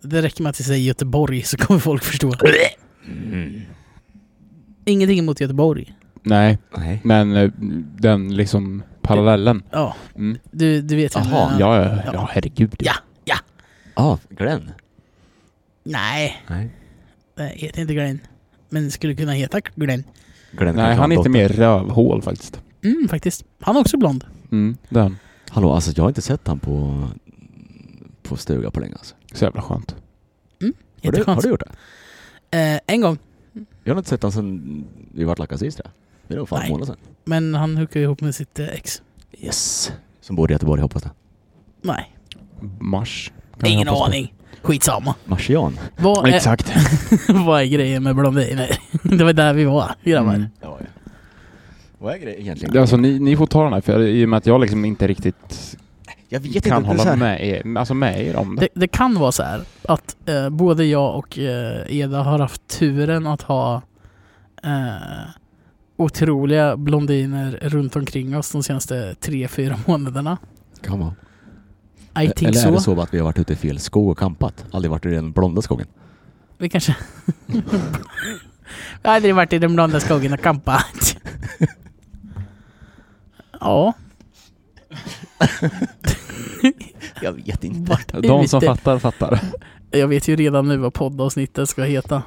[SPEAKER 1] Det räcker med att jag säger Göteborg så kommer folk förstå.
[SPEAKER 3] Mm.
[SPEAKER 1] Ingenting emot Göteborg.
[SPEAKER 3] Nej,
[SPEAKER 2] Nej.
[SPEAKER 3] men eh, den liksom parallellen.
[SPEAKER 1] Ja,
[SPEAKER 3] Mm.
[SPEAKER 1] du, du vet vem
[SPEAKER 2] Jaha,
[SPEAKER 1] det är.
[SPEAKER 3] Ja, ja,
[SPEAKER 1] Ja.
[SPEAKER 3] ja, herregud.
[SPEAKER 1] Ah. Ja.
[SPEAKER 2] Ah, Glenn?
[SPEAKER 1] Nej,
[SPEAKER 2] Nej.
[SPEAKER 1] det heter inte Glenn. Men skulle kunna heta Glenn.
[SPEAKER 3] Nej,
[SPEAKER 2] Glenn kanske
[SPEAKER 3] han är
[SPEAKER 2] har
[SPEAKER 3] inte
[SPEAKER 2] en
[SPEAKER 3] mer rövhål faktiskt.
[SPEAKER 1] Mm, faktiskt. Han är också blond.
[SPEAKER 3] Mm, den.
[SPEAKER 2] dotter. Hallå, alltså jag har inte sett han på, på stuga på länge alltså.
[SPEAKER 3] Så jävla skönt.
[SPEAKER 2] Har du, har
[SPEAKER 1] Jätteskönt.
[SPEAKER 2] du gjort det?
[SPEAKER 1] Eh, en gång.
[SPEAKER 2] Jag har inte sett han sen vi vart lacka sist tror jag. Det är nog fan
[SPEAKER 1] Nej.
[SPEAKER 2] en månad sedan.
[SPEAKER 1] Men han hookade ihop med sitt eh, ex.
[SPEAKER 2] Yes. Som bor i Göteborg hoppas jag.
[SPEAKER 1] Nej,
[SPEAKER 3] Mars. kan
[SPEAKER 1] ingen
[SPEAKER 3] jag hoppas på.
[SPEAKER 1] aning. Eh, Skitsamma.
[SPEAKER 2] Marsian.
[SPEAKER 1] Vad är,
[SPEAKER 3] Exakt.
[SPEAKER 1] [laughs] vad är grejen med blondiner? [laughs] det var där vi var, grabbar.
[SPEAKER 3] Mm.
[SPEAKER 2] Ja, ja. Vad är grejen egentligen?
[SPEAKER 3] Ja, Alltså, ni, ni får ta den här, för i och med att jag liksom inte riktigt
[SPEAKER 2] jag vet inte.
[SPEAKER 3] kan
[SPEAKER 2] det är så
[SPEAKER 3] hålla
[SPEAKER 2] här-
[SPEAKER 3] med er, alltså med er om det.
[SPEAKER 1] Det, det kan vara så här att eh, både jag och eh, Eda har haft turen att ha eh, otroliga blondiner runt omkring oss de senaste tre, fyra månaderna.
[SPEAKER 2] Kan vara.
[SPEAKER 1] I think
[SPEAKER 2] Eller är
[SPEAKER 1] so.
[SPEAKER 2] det så att vi har varit ute i fel skog och kampat? Aldrig varit i den blonda skogen?
[SPEAKER 1] Vi kanske... [laughs] jag har aldrig varit i den blonda skogen och campat. [laughs] ja,
[SPEAKER 2] Jag vet inte.
[SPEAKER 1] vart
[SPEAKER 3] De som
[SPEAKER 1] ute.
[SPEAKER 3] fattar, fattar.
[SPEAKER 1] Jag vet ju redan nu vad poddavsnittet ska heta.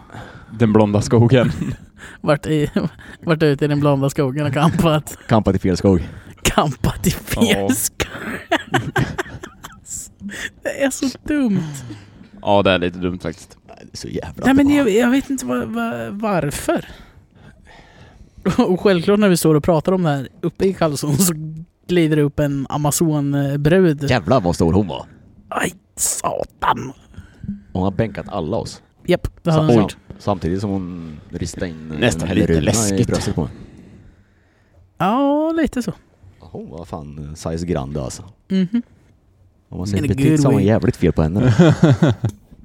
[SPEAKER 3] Den blonda skogen.
[SPEAKER 1] Vart, i, [laughs] vart ute i den blonda skogen och campat.
[SPEAKER 2] Kampat i fel skog.
[SPEAKER 1] Kampat i
[SPEAKER 3] Ja.
[SPEAKER 1] fjäsk. [laughs] det är så dumt.
[SPEAKER 3] Ja, det är lite dumt faktiskt.
[SPEAKER 2] Det är Så jävla
[SPEAKER 1] Nej, men
[SPEAKER 2] bra.
[SPEAKER 1] jag, jag vet inte vad, vad, varför. Och självklart när vi står och pratar om det här uppe i Karlsson så glider det upp en amazonbrud.
[SPEAKER 2] Jävlar vad stor hon var.
[SPEAKER 1] Aj, satan.
[SPEAKER 2] Hon har bänkat alla oss.
[SPEAKER 1] Japp, det hade
[SPEAKER 2] Sam-
[SPEAKER 1] hon gjort.
[SPEAKER 2] Samtidigt som hon ristade in en
[SPEAKER 3] Nästan
[SPEAKER 2] hel
[SPEAKER 3] lite
[SPEAKER 2] runa i
[SPEAKER 3] läskigt.
[SPEAKER 2] bröstet på mig.
[SPEAKER 1] Ja, lite så.
[SPEAKER 2] Hon var fan eh, size grande alltså.
[SPEAKER 1] Mhm.
[SPEAKER 2] Om
[SPEAKER 1] In
[SPEAKER 2] man säger
[SPEAKER 1] a good
[SPEAKER 2] petit så har man
[SPEAKER 1] way.
[SPEAKER 2] jävligt fel
[SPEAKER 1] [laughs]
[SPEAKER 2] på henne.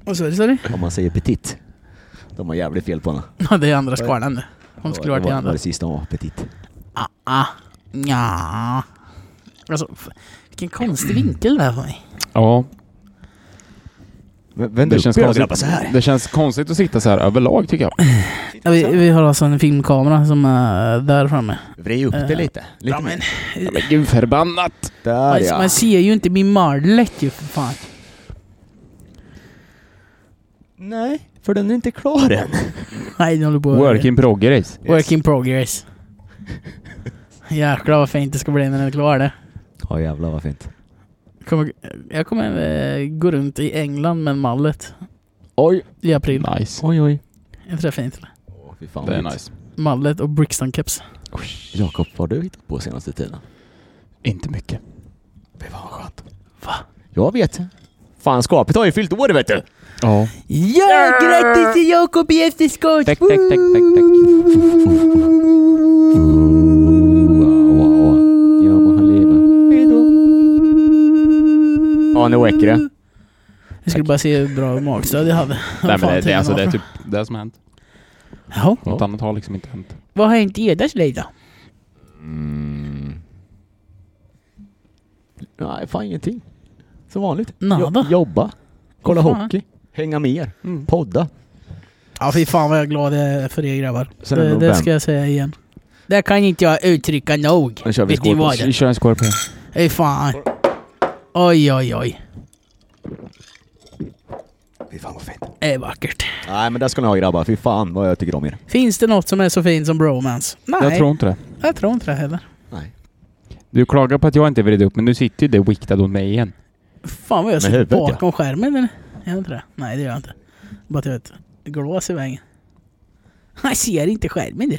[SPEAKER 1] Vad sa du? sa du?
[SPEAKER 2] Om man säger petit. De har man jävligt fel på henne.
[SPEAKER 1] [laughs] Ja, det är andra skvarnan nu. Hon skulle
[SPEAKER 2] Det
[SPEAKER 1] varit
[SPEAKER 2] var-
[SPEAKER 1] i
[SPEAKER 2] Det var
[SPEAKER 1] andra.
[SPEAKER 2] det sista hon var petit.
[SPEAKER 1] Ah, ah. Nja. Alltså, f- vilken [clears throat] konstig vinkel det här var.
[SPEAKER 3] Ja,
[SPEAKER 2] Vänd
[SPEAKER 3] det känns,
[SPEAKER 2] grabbar så
[SPEAKER 3] konstigt.
[SPEAKER 2] här.
[SPEAKER 3] det känns konstigt att sitta så här överlag tycker jag.
[SPEAKER 1] Ja, vi, vi har alltså en filmkamera som är där framme.
[SPEAKER 2] Vrid upp det
[SPEAKER 1] Eh,
[SPEAKER 2] lite. Lite mer.
[SPEAKER 3] Ja, men gud förbannat!
[SPEAKER 2] Där
[SPEAKER 1] man,
[SPEAKER 2] ja.
[SPEAKER 1] man ser ju inte min marlet ju för fan.
[SPEAKER 2] Nej, för den är inte klar än.
[SPEAKER 1] Nej, den håller på
[SPEAKER 3] Work in progress.
[SPEAKER 1] Work in progress. Jäklar vad fint det ska bli när den är klar det.
[SPEAKER 2] Ja jävlar vad fint.
[SPEAKER 1] Kommer, jag kommer eh, gå runt i England med en mallet
[SPEAKER 2] Oj.
[SPEAKER 1] i april.
[SPEAKER 3] Nice.
[SPEAKER 2] Oj oj.
[SPEAKER 1] Är inte det fint? eller?
[SPEAKER 2] Åh, fy fan
[SPEAKER 3] Det är
[SPEAKER 2] vad
[SPEAKER 3] nice.
[SPEAKER 1] Mallet och Brixton-keps.
[SPEAKER 2] Jakob, vad har du hittat på senaste tiden?
[SPEAKER 3] Inte mycket.
[SPEAKER 2] Fy fan vad skönt.
[SPEAKER 1] Va?
[SPEAKER 2] Jag vet. Fan, skapet har ju fyllt år vet du.
[SPEAKER 3] Ja.
[SPEAKER 1] Ja, grattis till Jakob i efterskott!
[SPEAKER 3] Tack, tack, tack, tack, tack.
[SPEAKER 2] Ja, må han leva. Hejdå. Ja, nu räcker det.
[SPEAKER 1] Jag skulle bara se hur bra magstöd jag hade.
[SPEAKER 3] Nej,
[SPEAKER 1] Vad
[SPEAKER 3] men
[SPEAKER 1] fan
[SPEAKER 3] det, det,
[SPEAKER 1] tiden
[SPEAKER 3] alltså,
[SPEAKER 1] var
[SPEAKER 3] det är
[SPEAKER 1] för-
[SPEAKER 3] typ det som har hänt.
[SPEAKER 1] Jaha,
[SPEAKER 3] Något annat har liksom inte hänt.
[SPEAKER 1] vad har hänt i Edas liv då?
[SPEAKER 2] Nej, fan ingenting. Som vanligt.
[SPEAKER 1] Nada.
[SPEAKER 2] Jo- jobba. Kolla
[SPEAKER 1] Fan.
[SPEAKER 2] hockey. Hänga med er.
[SPEAKER 3] Mm.
[SPEAKER 2] Podda.
[SPEAKER 1] Ja fy fan vad jag är glad jag är för er grabbar.
[SPEAKER 2] Sen är det
[SPEAKER 1] Det,
[SPEAKER 2] nog
[SPEAKER 1] det
[SPEAKER 2] vem.
[SPEAKER 1] ska jag säga igen. Det kan inte jag uttrycka nog.
[SPEAKER 2] Nu kör vi
[SPEAKER 1] Vet ni
[SPEAKER 2] skål på
[SPEAKER 1] vad?
[SPEAKER 3] Vi kör en skål på
[SPEAKER 1] Fy fan. Oj oj oj.
[SPEAKER 2] Fy fan vad fint.
[SPEAKER 1] Det är vackert.
[SPEAKER 2] Nej, men det ska ni ha grabbar. Fy fan vad jag tycker om er.
[SPEAKER 1] Finns det något som är så fint som bromance? Nej,
[SPEAKER 3] Jag tror inte det.
[SPEAKER 1] jag tror inte det heller.
[SPEAKER 2] Nej.
[SPEAKER 3] Du klagar på att jag inte vred upp, men nu sitter ju det viktad åt mig igen.
[SPEAKER 1] Fan vad jag
[SPEAKER 2] Med
[SPEAKER 1] sitter
[SPEAKER 2] huvudet, ja.
[SPEAKER 1] bakom skärmen eller? Är jag inte det? Nej det gör jag inte. Bara att jag har ett glas i vägen. [laughs] Jag ser inte skärmen du.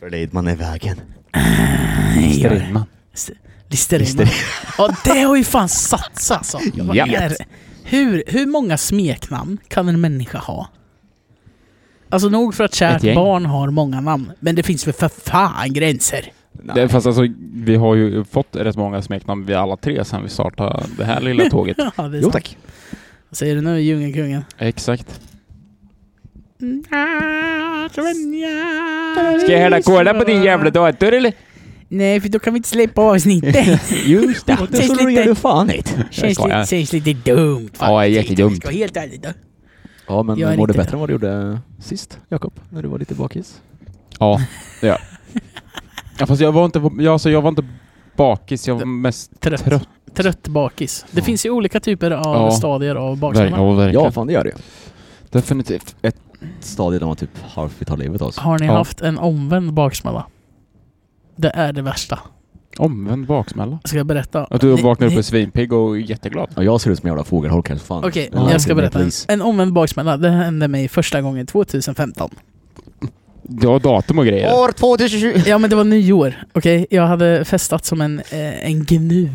[SPEAKER 2] För det är man är vägen.
[SPEAKER 1] Nej, jag-
[SPEAKER 3] Strindman.
[SPEAKER 1] Listerin. Ja, det har ju fan satts alltså.
[SPEAKER 2] Jag vet.
[SPEAKER 1] Är- Hur, hur många smeknamn kan en människa ha? Alltså nog för att kärt
[SPEAKER 3] Ett gäng.
[SPEAKER 1] barn har många namn, men det finns väl för fan gränser?
[SPEAKER 2] Nej.
[SPEAKER 3] Det, fast alltså, vi har ju fått rätt många smeknamn vi alla tre sedan vi startade det här lilla
[SPEAKER 1] [laughs]
[SPEAKER 3] tåget.
[SPEAKER 1] Ja, det är
[SPEAKER 2] Jo
[SPEAKER 1] sant.
[SPEAKER 2] tack.
[SPEAKER 1] Vad säger du nu, Djungelkungen?
[SPEAKER 3] Exakt.
[SPEAKER 1] Ska
[SPEAKER 3] Ska jag hälla kola på din jävla dator eller?
[SPEAKER 1] Nej, för då kan vi inte
[SPEAKER 3] [laughs]
[SPEAKER 1] släppa avsnittet.
[SPEAKER 2] Just [laughs] det.
[SPEAKER 1] Känns
[SPEAKER 2] Det slår
[SPEAKER 1] lite-
[SPEAKER 2] du fan hit.
[SPEAKER 1] känns,
[SPEAKER 3] skojar.
[SPEAKER 1] lite, känns lite dumt.
[SPEAKER 3] Ja, det är jättedumt.
[SPEAKER 1] Ska helt ärligt då.
[SPEAKER 2] Ja, men
[SPEAKER 1] Gör
[SPEAKER 2] mår du
[SPEAKER 1] inte
[SPEAKER 2] bättre än vad du gjorde sist, Jakob? När du var lite bakis?
[SPEAKER 3] Ja, det
[SPEAKER 1] [laughs]
[SPEAKER 3] gör ja, Fast jag var inte, jag, alltså, jag var inte bakis, jag var
[SPEAKER 1] Det-
[SPEAKER 3] mest
[SPEAKER 1] Trött. Trött,
[SPEAKER 3] trött.
[SPEAKER 1] bakis. Det finns ju olika typer av
[SPEAKER 3] Ja.
[SPEAKER 1] stadier av
[SPEAKER 3] Verkligen.
[SPEAKER 1] baksamma.
[SPEAKER 3] Ja, verkligen.
[SPEAKER 2] Ja, fan det gör du ju.
[SPEAKER 3] Definitivt. Ett,
[SPEAKER 2] Stadiet där man typ halvt tar livet av sig.
[SPEAKER 1] Har ni
[SPEAKER 3] Ja.
[SPEAKER 1] haft en omvänd baksmälla? Det är det värsta.
[SPEAKER 3] omvänd baksmälla.
[SPEAKER 1] Ska jag berätta?
[SPEAKER 3] Att du
[SPEAKER 1] Ni-
[SPEAKER 3] vaknar
[SPEAKER 1] ni-
[SPEAKER 3] upp svinpigg och jätteglad.
[SPEAKER 2] Ja, jag ser ut som en jävla fågelholk här, så fan.
[SPEAKER 1] Okej,
[SPEAKER 2] Ja,
[SPEAKER 1] jag ska
[SPEAKER 2] det är
[SPEAKER 1] berätta. En,
[SPEAKER 2] polis.
[SPEAKER 1] en omvänd baksmälla, det hände mig första gången 2015.
[SPEAKER 3] Du har datum och grejer.
[SPEAKER 2] År 2020!
[SPEAKER 1] Ja men det var nyår, okej? Jag hade festat som en, eh, en gnu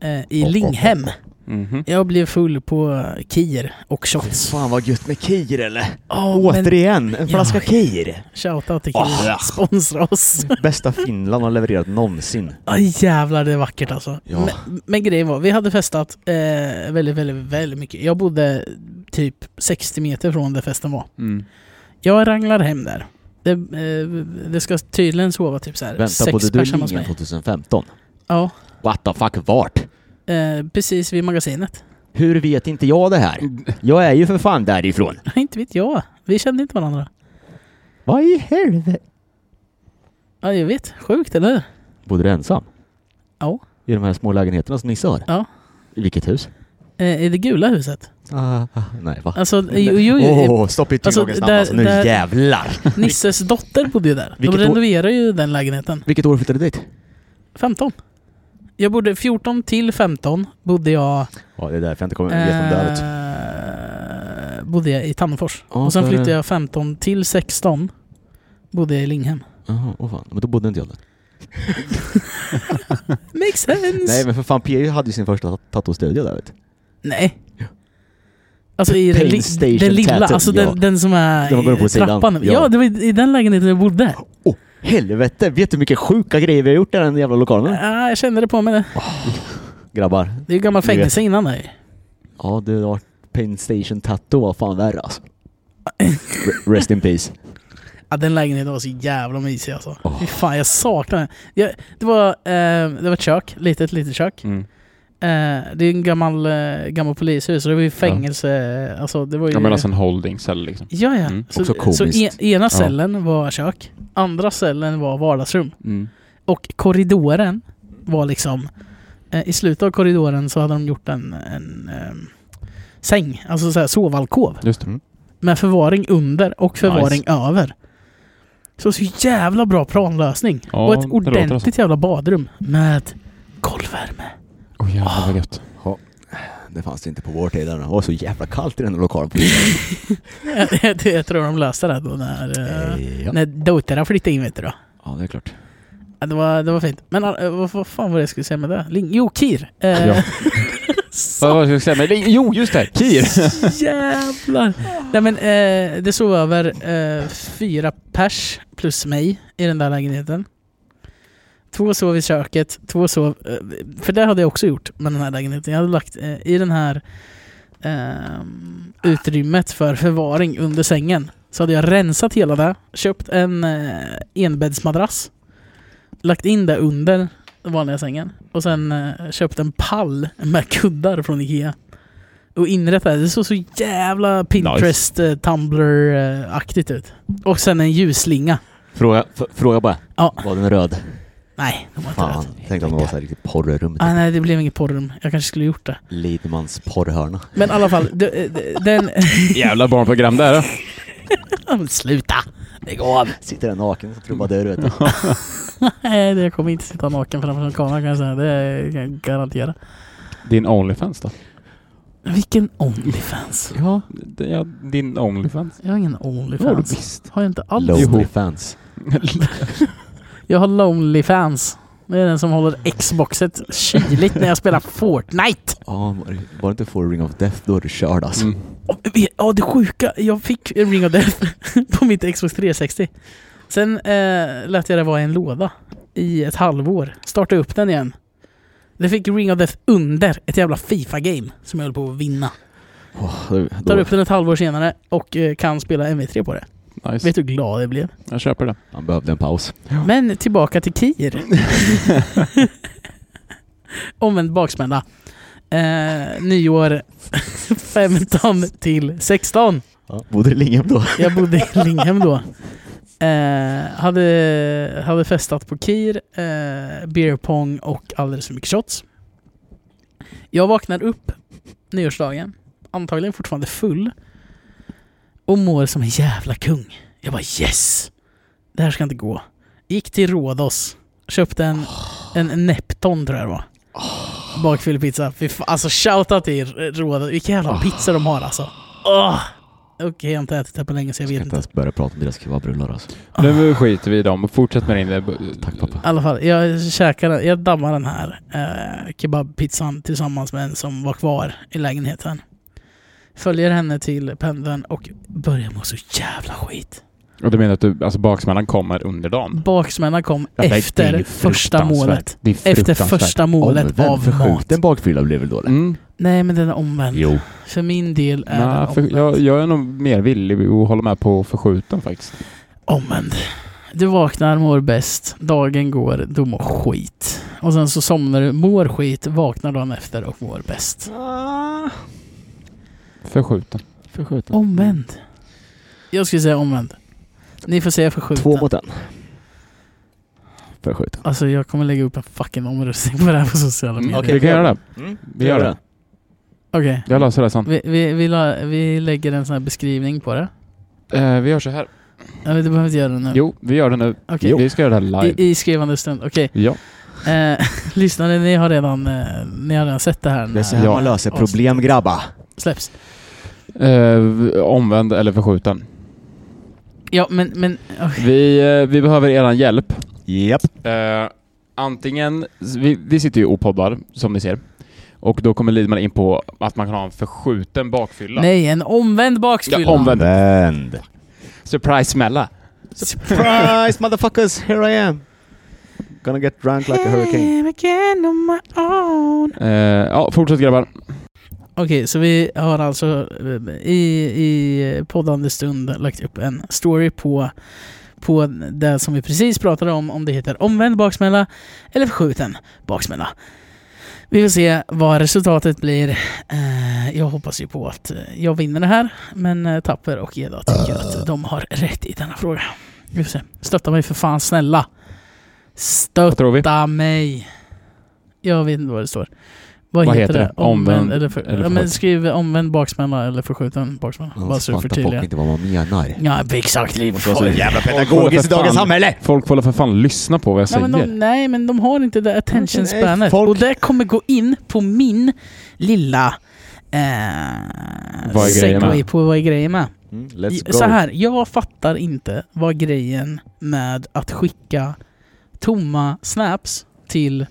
[SPEAKER 1] eh, i Linghem.
[SPEAKER 3] Mhm.
[SPEAKER 1] Jag blev full på kir och shots.
[SPEAKER 2] Fan vad gött med kir eller?
[SPEAKER 1] Oh, men
[SPEAKER 2] Återigen, en flaska kir!
[SPEAKER 1] shoutout till
[SPEAKER 2] Åh,
[SPEAKER 1] kir.
[SPEAKER 2] ja.
[SPEAKER 1] Sponsra oss.
[SPEAKER 2] Bästa Finland har levererat någonsin.
[SPEAKER 1] Oh, jävlar det är vackert alltså.
[SPEAKER 2] Ja.
[SPEAKER 1] Men, men grejen var, vi hade festat eh, väldigt, väldigt, väldigt mycket. Jag bodde typ 60 meter från där festen var.
[SPEAKER 3] Mm.
[SPEAKER 1] Jag ranglar hem där. Det, eh, det ska tydligen sova typ så här
[SPEAKER 2] Vänta på
[SPEAKER 1] sex
[SPEAKER 2] det du
[SPEAKER 1] pers hemma hos
[SPEAKER 2] ringen
[SPEAKER 1] mig.
[SPEAKER 2] 2015.
[SPEAKER 1] Ja,
[SPEAKER 2] What the fuck, vart?
[SPEAKER 1] eh, precis vid magasinet. [laughs]
[SPEAKER 2] Hur vet inte jag det här?
[SPEAKER 1] Mm.
[SPEAKER 2] Jag är ju för fan därifrån.
[SPEAKER 1] inte vet jag. Vi kände inte varandra.
[SPEAKER 2] Vad i helvete?
[SPEAKER 1] Ja, jag vet. Sjukt, eller hur?
[SPEAKER 2] Bodde du ensam?
[SPEAKER 1] Ja.
[SPEAKER 2] I de här små lägenheterna som Nisse har?
[SPEAKER 1] Ja.
[SPEAKER 2] I vilket hus?
[SPEAKER 1] Eh, I det gula huset.
[SPEAKER 2] Ah, nej, va?
[SPEAKER 1] Alltså, jo, jo, jo,
[SPEAKER 2] oh, stopp i
[SPEAKER 1] alltså,
[SPEAKER 2] tillgångens namn
[SPEAKER 1] där-
[SPEAKER 2] alltså, nu
[SPEAKER 1] där-
[SPEAKER 2] jävlar!
[SPEAKER 1] Nisses dotter bodde ju där. De
[SPEAKER 2] Vilket år?
[SPEAKER 1] renoverade ju den lägenheten.
[SPEAKER 2] Vilket år flyttade du dit?
[SPEAKER 1] 15. Jag bodde 14 till 15 bodde jag,
[SPEAKER 2] Ja, det är därför jag inte kommer
[SPEAKER 1] eh, bodde jag i Tammerfors.
[SPEAKER 2] Ja,
[SPEAKER 1] och sen
[SPEAKER 2] så är
[SPEAKER 1] flyttade
[SPEAKER 2] det.
[SPEAKER 1] jag 15 till 16 bodde jag i Linghem.
[SPEAKER 2] Jaha, åh fan. Men då bodde inte jag där.
[SPEAKER 1] Makes sense!
[SPEAKER 2] Nej
[SPEAKER 1] Nej.
[SPEAKER 2] men för fan, PU hade ju sin första tatostudio där vet du.
[SPEAKER 1] Alltså i den,
[SPEAKER 2] Pain
[SPEAKER 1] li-
[SPEAKER 2] Station
[SPEAKER 1] den lilla,
[SPEAKER 2] Tattoo,
[SPEAKER 1] alltså
[SPEAKER 2] ja.
[SPEAKER 1] den, den som är
[SPEAKER 2] Den man går upp på
[SPEAKER 1] i
[SPEAKER 2] sidan,
[SPEAKER 1] trappan. Ja.
[SPEAKER 2] ja.
[SPEAKER 1] ja, det var i i den lägenheten jag bodde.
[SPEAKER 2] Helvete! Vet du hur mycket sjuka grejer vi har gjort i den jävla lokalen?
[SPEAKER 1] Ja, jag kände det på mig. Det,
[SPEAKER 2] Grabbar.
[SPEAKER 1] det är ju gammal
[SPEAKER 2] Du vet.
[SPEAKER 1] fängelse innan det.
[SPEAKER 2] Ja, du har Pain Station Tattoo var fan värre alltså. Re- Rest in peace.
[SPEAKER 1] Ja, den lägenheten var så jävla mysig alltså.
[SPEAKER 2] Åh.
[SPEAKER 1] Fy fan, jag saknar den. Jag, det, var, eh, det var ett kök, litet, litet kök.
[SPEAKER 3] Mm.
[SPEAKER 1] Eh, det är en gammal, eh, gammal polishus, så det var ju fängelse. Alltså, det var ju...
[SPEAKER 3] Jag menar alltså en holdingcell liksom.
[SPEAKER 1] ja, ja.
[SPEAKER 3] Mm,
[SPEAKER 1] Så,
[SPEAKER 2] också komiskt.
[SPEAKER 1] så e- ena cellen var kök, andra cellen var vardagsrum.
[SPEAKER 3] Mm.
[SPEAKER 1] Och korridoren var liksom... Eh, I slutet av korridoren så hade de gjort en, en ehm, säng, alltså så här sovalkov.
[SPEAKER 3] Just det.
[SPEAKER 1] Med förvaring under och förvaring
[SPEAKER 3] Nice.
[SPEAKER 1] över. Så så jävla bra planlösning.
[SPEAKER 3] Ja,
[SPEAKER 1] och
[SPEAKER 3] det
[SPEAKER 1] ett
[SPEAKER 3] låter alltså-
[SPEAKER 1] ordentligt jävla badrum med golvvärme. [laughs]
[SPEAKER 3] Åh jävlar vad gött.
[SPEAKER 1] Ah,
[SPEAKER 2] Det fanns det inte på vår tid. än. Det var så jävla kallt i den här [laughs] lokalen.
[SPEAKER 1] jag, jag- jag tror de löste det då när, eh,
[SPEAKER 2] Eh, ja.
[SPEAKER 1] när doterna flyttade in vet du då.
[SPEAKER 2] ja, det är klart.
[SPEAKER 1] Ja, det, var, det var fint. Men eh, vad, vad fan var det jag skulle säga med det? Ling- jo, KIR! Eh,
[SPEAKER 3] Ja.
[SPEAKER 1] så
[SPEAKER 3] Vad vad ska jag säga? Men, det- jo, just det! Kir!
[SPEAKER 1] [laughs] jävlar! Nej men eh, det sov över eh, fyra pers plus mig i den där lägenheten. Två sov i köket, två sov... Eh, för det hade jag också gjort med den här lägenheten. Jag hade lagt eh, i den här eh, utrymmet för förvaring under sängen. Så hade jag rensat hela det, köpt en eh, enbäddsmadrass, lagt in det under den vanliga sängen och sen eh, köpt en pall med kuddar från Ikea. Och inrättade, det såg så jävla Pinterest, eh, Tumblr-aktigt ut. Och sen en ljusslinga.
[SPEAKER 2] Fråga, f- fråga bara.
[SPEAKER 1] Ja.
[SPEAKER 2] Var den röd?
[SPEAKER 1] Nej, det var inte
[SPEAKER 2] Fan,
[SPEAKER 1] rätt.
[SPEAKER 2] tänkte om det var så här riktigt porrrum. typ.
[SPEAKER 1] Ah, nej, det blev inget porrrum. Jag kanske skulle gjort det.
[SPEAKER 2] Lidmans porrhörna.
[SPEAKER 1] Men i alla fall, det- det- den...
[SPEAKER 3] Jävla barnprogram där. då.
[SPEAKER 1] [laughs] Sluta! Lägg av!
[SPEAKER 2] Sitter den naken som trubadur vet du.
[SPEAKER 1] Nej, det kommer inte sitta naken framför en kamera kan jag säga. Det kan jag garantera.
[SPEAKER 3] Din Onlyfans då?
[SPEAKER 1] Vilken Onlyfans?
[SPEAKER 3] Ja. ja din Onlyfans.
[SPEAKER 1] Jag har ingen
[SPEAKER 3] Ja, du
[SPEAKER 1] Onlyfans.
[SPEAKER 3] visst.
[SPEAKER 1] Har jag inte alls.
[SPEAKER 2] Lonely fans.
[SPEAKER 1] Jag har Lonelyfans. Det är den som håller [laughs] Xboxet kyligt när jag spelar Fortnite.
[SPEAKER 2] Ja, var det- var det inte för Ring of Death då är du körd alltså.
[SPEAKER 3] Mm.
[SPEAKER 1] Och vi- Ja, det sjuka. Jag fick Ring of Death [laughs] på mitt Xbox 360. Sen eh, lät jag det vara i en låda i ett halvår. Startade upp den igen. Det fick Ring of Death under ett jävla Fifa-game som jag höll på att vinna.
[SPEAKER 2] Åh, då- då-
[SPEAKER 1] Tar upp den ett halvår senare och eh, kan spela MV3 på det.
[SPEAKER 3] Nice.
[SPEAKER 1] Vet du hur glad jag blev?
[SPEAKER 3] Jag köper det.
[SPEAKER 2] Han behövde en paus.
[SPEAKER 1] Men tillbaka till [laughs] Kir. Omvänd baksmälla. Eh, nyår [laughs] 15 till 16.
[SPEAKER 2] Ja. Bodde i Linghem då?
[SPEAKER 1] Jag bodde i Linghem då. Eh, hade, hade festat på Kir, eh, beer pong och alldeles för mycket shots. Jag vaknar upp nyårsdagen, antagligen fortfarande full och mår som en jävla kung. Jag bara yes! Det här ska inte gå. Gick till Rhodos, köpte en, en Nepton tror jag det var. Bakfyllepizza. Fy fa- Alltså shoutout till Rhodos. Vilken jävla pizza de har alltså. Åh! Okej, jag har inte ätit det på länge så jag
[SPEAKER 2] Ska
[SPEAKER 1] vet
[SPEAKER 2] inte
[SPEAKER 1] inte.
[SPEAKER 2] ens börja prata om deras kebabrullar alltså.
[SPEAKER 1] Ah.
[SPEAKER 3] Nu skiter vi i dem. Fortsätt med din... eh,
[SPEAKER 2] Tack pappa.
[SPEAKER 1] I alla fall, jag käkar den, jag dammar den här eh, kebabpizzan tillsammans med en som var kvar i lägenheten. Följer henne till pendeln och börjar må så jävla skit.
[SPEAKER 3] Och du menar att du, alltså baksmällan kommer under dagen?
[SPEAKER 1] Baksmällan kom
[SPEAKER 3] Ja, det är
[SPEAKER 1] efter första
[SPEAKER 3] fruktansvärt.
[SPEAKER 1] målet.
[SPEAKER 3] Det är
[SPEAKER 1] Efter
[SPEAKER 3] fruktansvärt.
[SPEAKER 1] första målet
[SPEAKER 2] Omvänd
[SPEAKER 1] av
[SPEAKER 2] förskjuten
[SPEAKER 1] mat.
[SPEAKER 2] bakfylla blev väl då eller?
[SPEAKER 3] Mm.
[SPEAKER 1] Nej men den är omvänd.
[SPEAKER 2] Jo.
[SPEAKER 1] För min del är
[SPEAKER 3] Nej,
[SPEAKER 1] den
[SPEAKER 3] för,
[SPEAKER 1] omvänd.
[SPEAKER 3] jag, jag är nog mer villig att hålla med på förskjuten faktiskt.
[SPEAKER 1] omvänd. Du vaknar, mår bäst, dagen går, du mår skit. Och sen så somnar du, mår skit, vaknar dagen efter och mår bäst.
[SPEAKER 3] Förskjuten.
[SPEAKER 2] Förskjuten.
[SPEAKER 1] Omvänd. Jag skulle säga omvänd. Ni får säga förskjuten.
[SPEAKER 2] Två mot en. Förskjuten.
[SPEAKER 1] Alltså jag kommer lägga upp en fucking omröstning på det här på sociala medier.
[SPEAKER 2] Mm, Okej.
[SPEAKER 3] Vi kan göra det.
[SPEAKER 2] Mm,
[SPEAKER 3] Vi gör det.
[SPEAKER 1] Okej.
[SPEAKER 3] Jag löser det sen.
[SPEAKER 1] Vi, vi, vi, la, vi lägger en sån här beskrivning på det.
[SPEAKER 3] Eh, vi gör så här.
[SPEAKER 1] Eller du behöver inte göra det nu.
[SPEAKER 3] Jo, vi gör det nu.
[SPEAKER 1] Mm. Okej.
[SPEAKER 3] Vi ska göra det här live.
[SPEAKER 1] I, I skrivande stund. Okej.
[SPEAKER 3] Ja.
[SPEAKER 1] Eh, [laughs] lyssnare, ni har, redan, eh, ni har redan sett det här.
[SPEAKER 2] Det är så
[SPEAKER 1] när-
[SPEAKER 2] här
[SPEAKER 3] Ja.
[SPEAKER 2] man löser problem grabbar.
[SPEAKER 1] Släpps.
[SPEAKER 3] Eh, omvänd eller förskjuten.
[SPEAKER 1] Ja, men... men oh, okej.
[SPEAKER 3] Vi, eh, vi behöver er hjälp.
[SPEAKER 2] Japp.
[SPEAKER 3] Eh, antingen, vi, vi sitter ju och poddar som ni ser. Och då kommer Lidman in på att man kan ha en förskjuten bakfylla.
[SPEAKER 1] Nej, en omvänd bakfylla.
[SPEAKER 3] Ja, omvänd.
[SPEAKER 2] Vänd.
[SPEAKER 3] Surprise smälla.
[SPEAKER 2] Surprise motherfuckers, here I am. Gonna get drunk like a hurricane.
[SPEAKER 1] I'm again on my own.
[SPEAKER 3] Eh, ja, fortsätt grabbar.
[SPEAKER 1] Okej, så vi har alltså eh, i, i poddande stund lagt upp en story på, på det som vi precis pratade om, om det heter omvänd baksmälla eller förskjuten baksmälla. Vi får se vad resultatet blir. Eh, Jag hoppas ju på att eh, jag vinner det här, men eh, Tapper och Eda tycker att de har rätt i denna fråga. Vi får se. Stötta mig för fan, snälla.
[SPEAKER 3] Vad
[SPEAKER 1] Stötta
[SPEAKER 3] tror vi?
[SPEAKER 1] mig. Jag vet inte vad det står. Vad,
[SPEAKER 3] Vad
[SPEAKER 1] heter,
[SPEAKER 3] heter
[SPEAKER 1] det?
[SPEAKER 3] det?
[SPEAKER 1] Omvänd,
[SPEAKER 3] Omvänd
[SPEAKER 1] eller, för,
[SPEAKER 3] eller
[SPEAKER 1] ja, men
[SPEAKER 3] förskjuten.
[SPEAKER 1] skriv omvänd baksmälla eller förskjuten baksmälla. Bara så du förtydligar.
[SPEAKER 2] inte vad man menar.
[SPEAKER 1] Ja, exakt. Liv.
[SPEAKER 2] Måste vara så jävla
[SPEAKER 3] Åh,
[SPEAKER 2] pedagogiskt i
[SPEAKER 3] för
[SPEAKER 2] dagens
[SPEAKER 3] fan.
[SPEAKER 2] samhälle.
[SPEAKER 3] Folk får väl för fan lyssna på vad jag
[SPEAKER 1] Nej
[SPEAKER 3] säger.
[SPEAKER 1] men, de, nej men de har inte det attention
[SPEAKER 2] Nej,
[SPEAKER 1] spanet.
[SPEAKER 2] folk-
[SPEAKER 1] Och det kommer gå in på min lilla eh,
[SPEAKER 3] Vad är grejen
[SPEAKER 1] segway
[SPEAKER 3] med?
[SPEAKER 1] på vad är grejen med.
[SPEAKER 2] Mm, let's go.
[SPEAKER 1] Så här, jag fattar inte vad grejen med att skicka tomma snaps till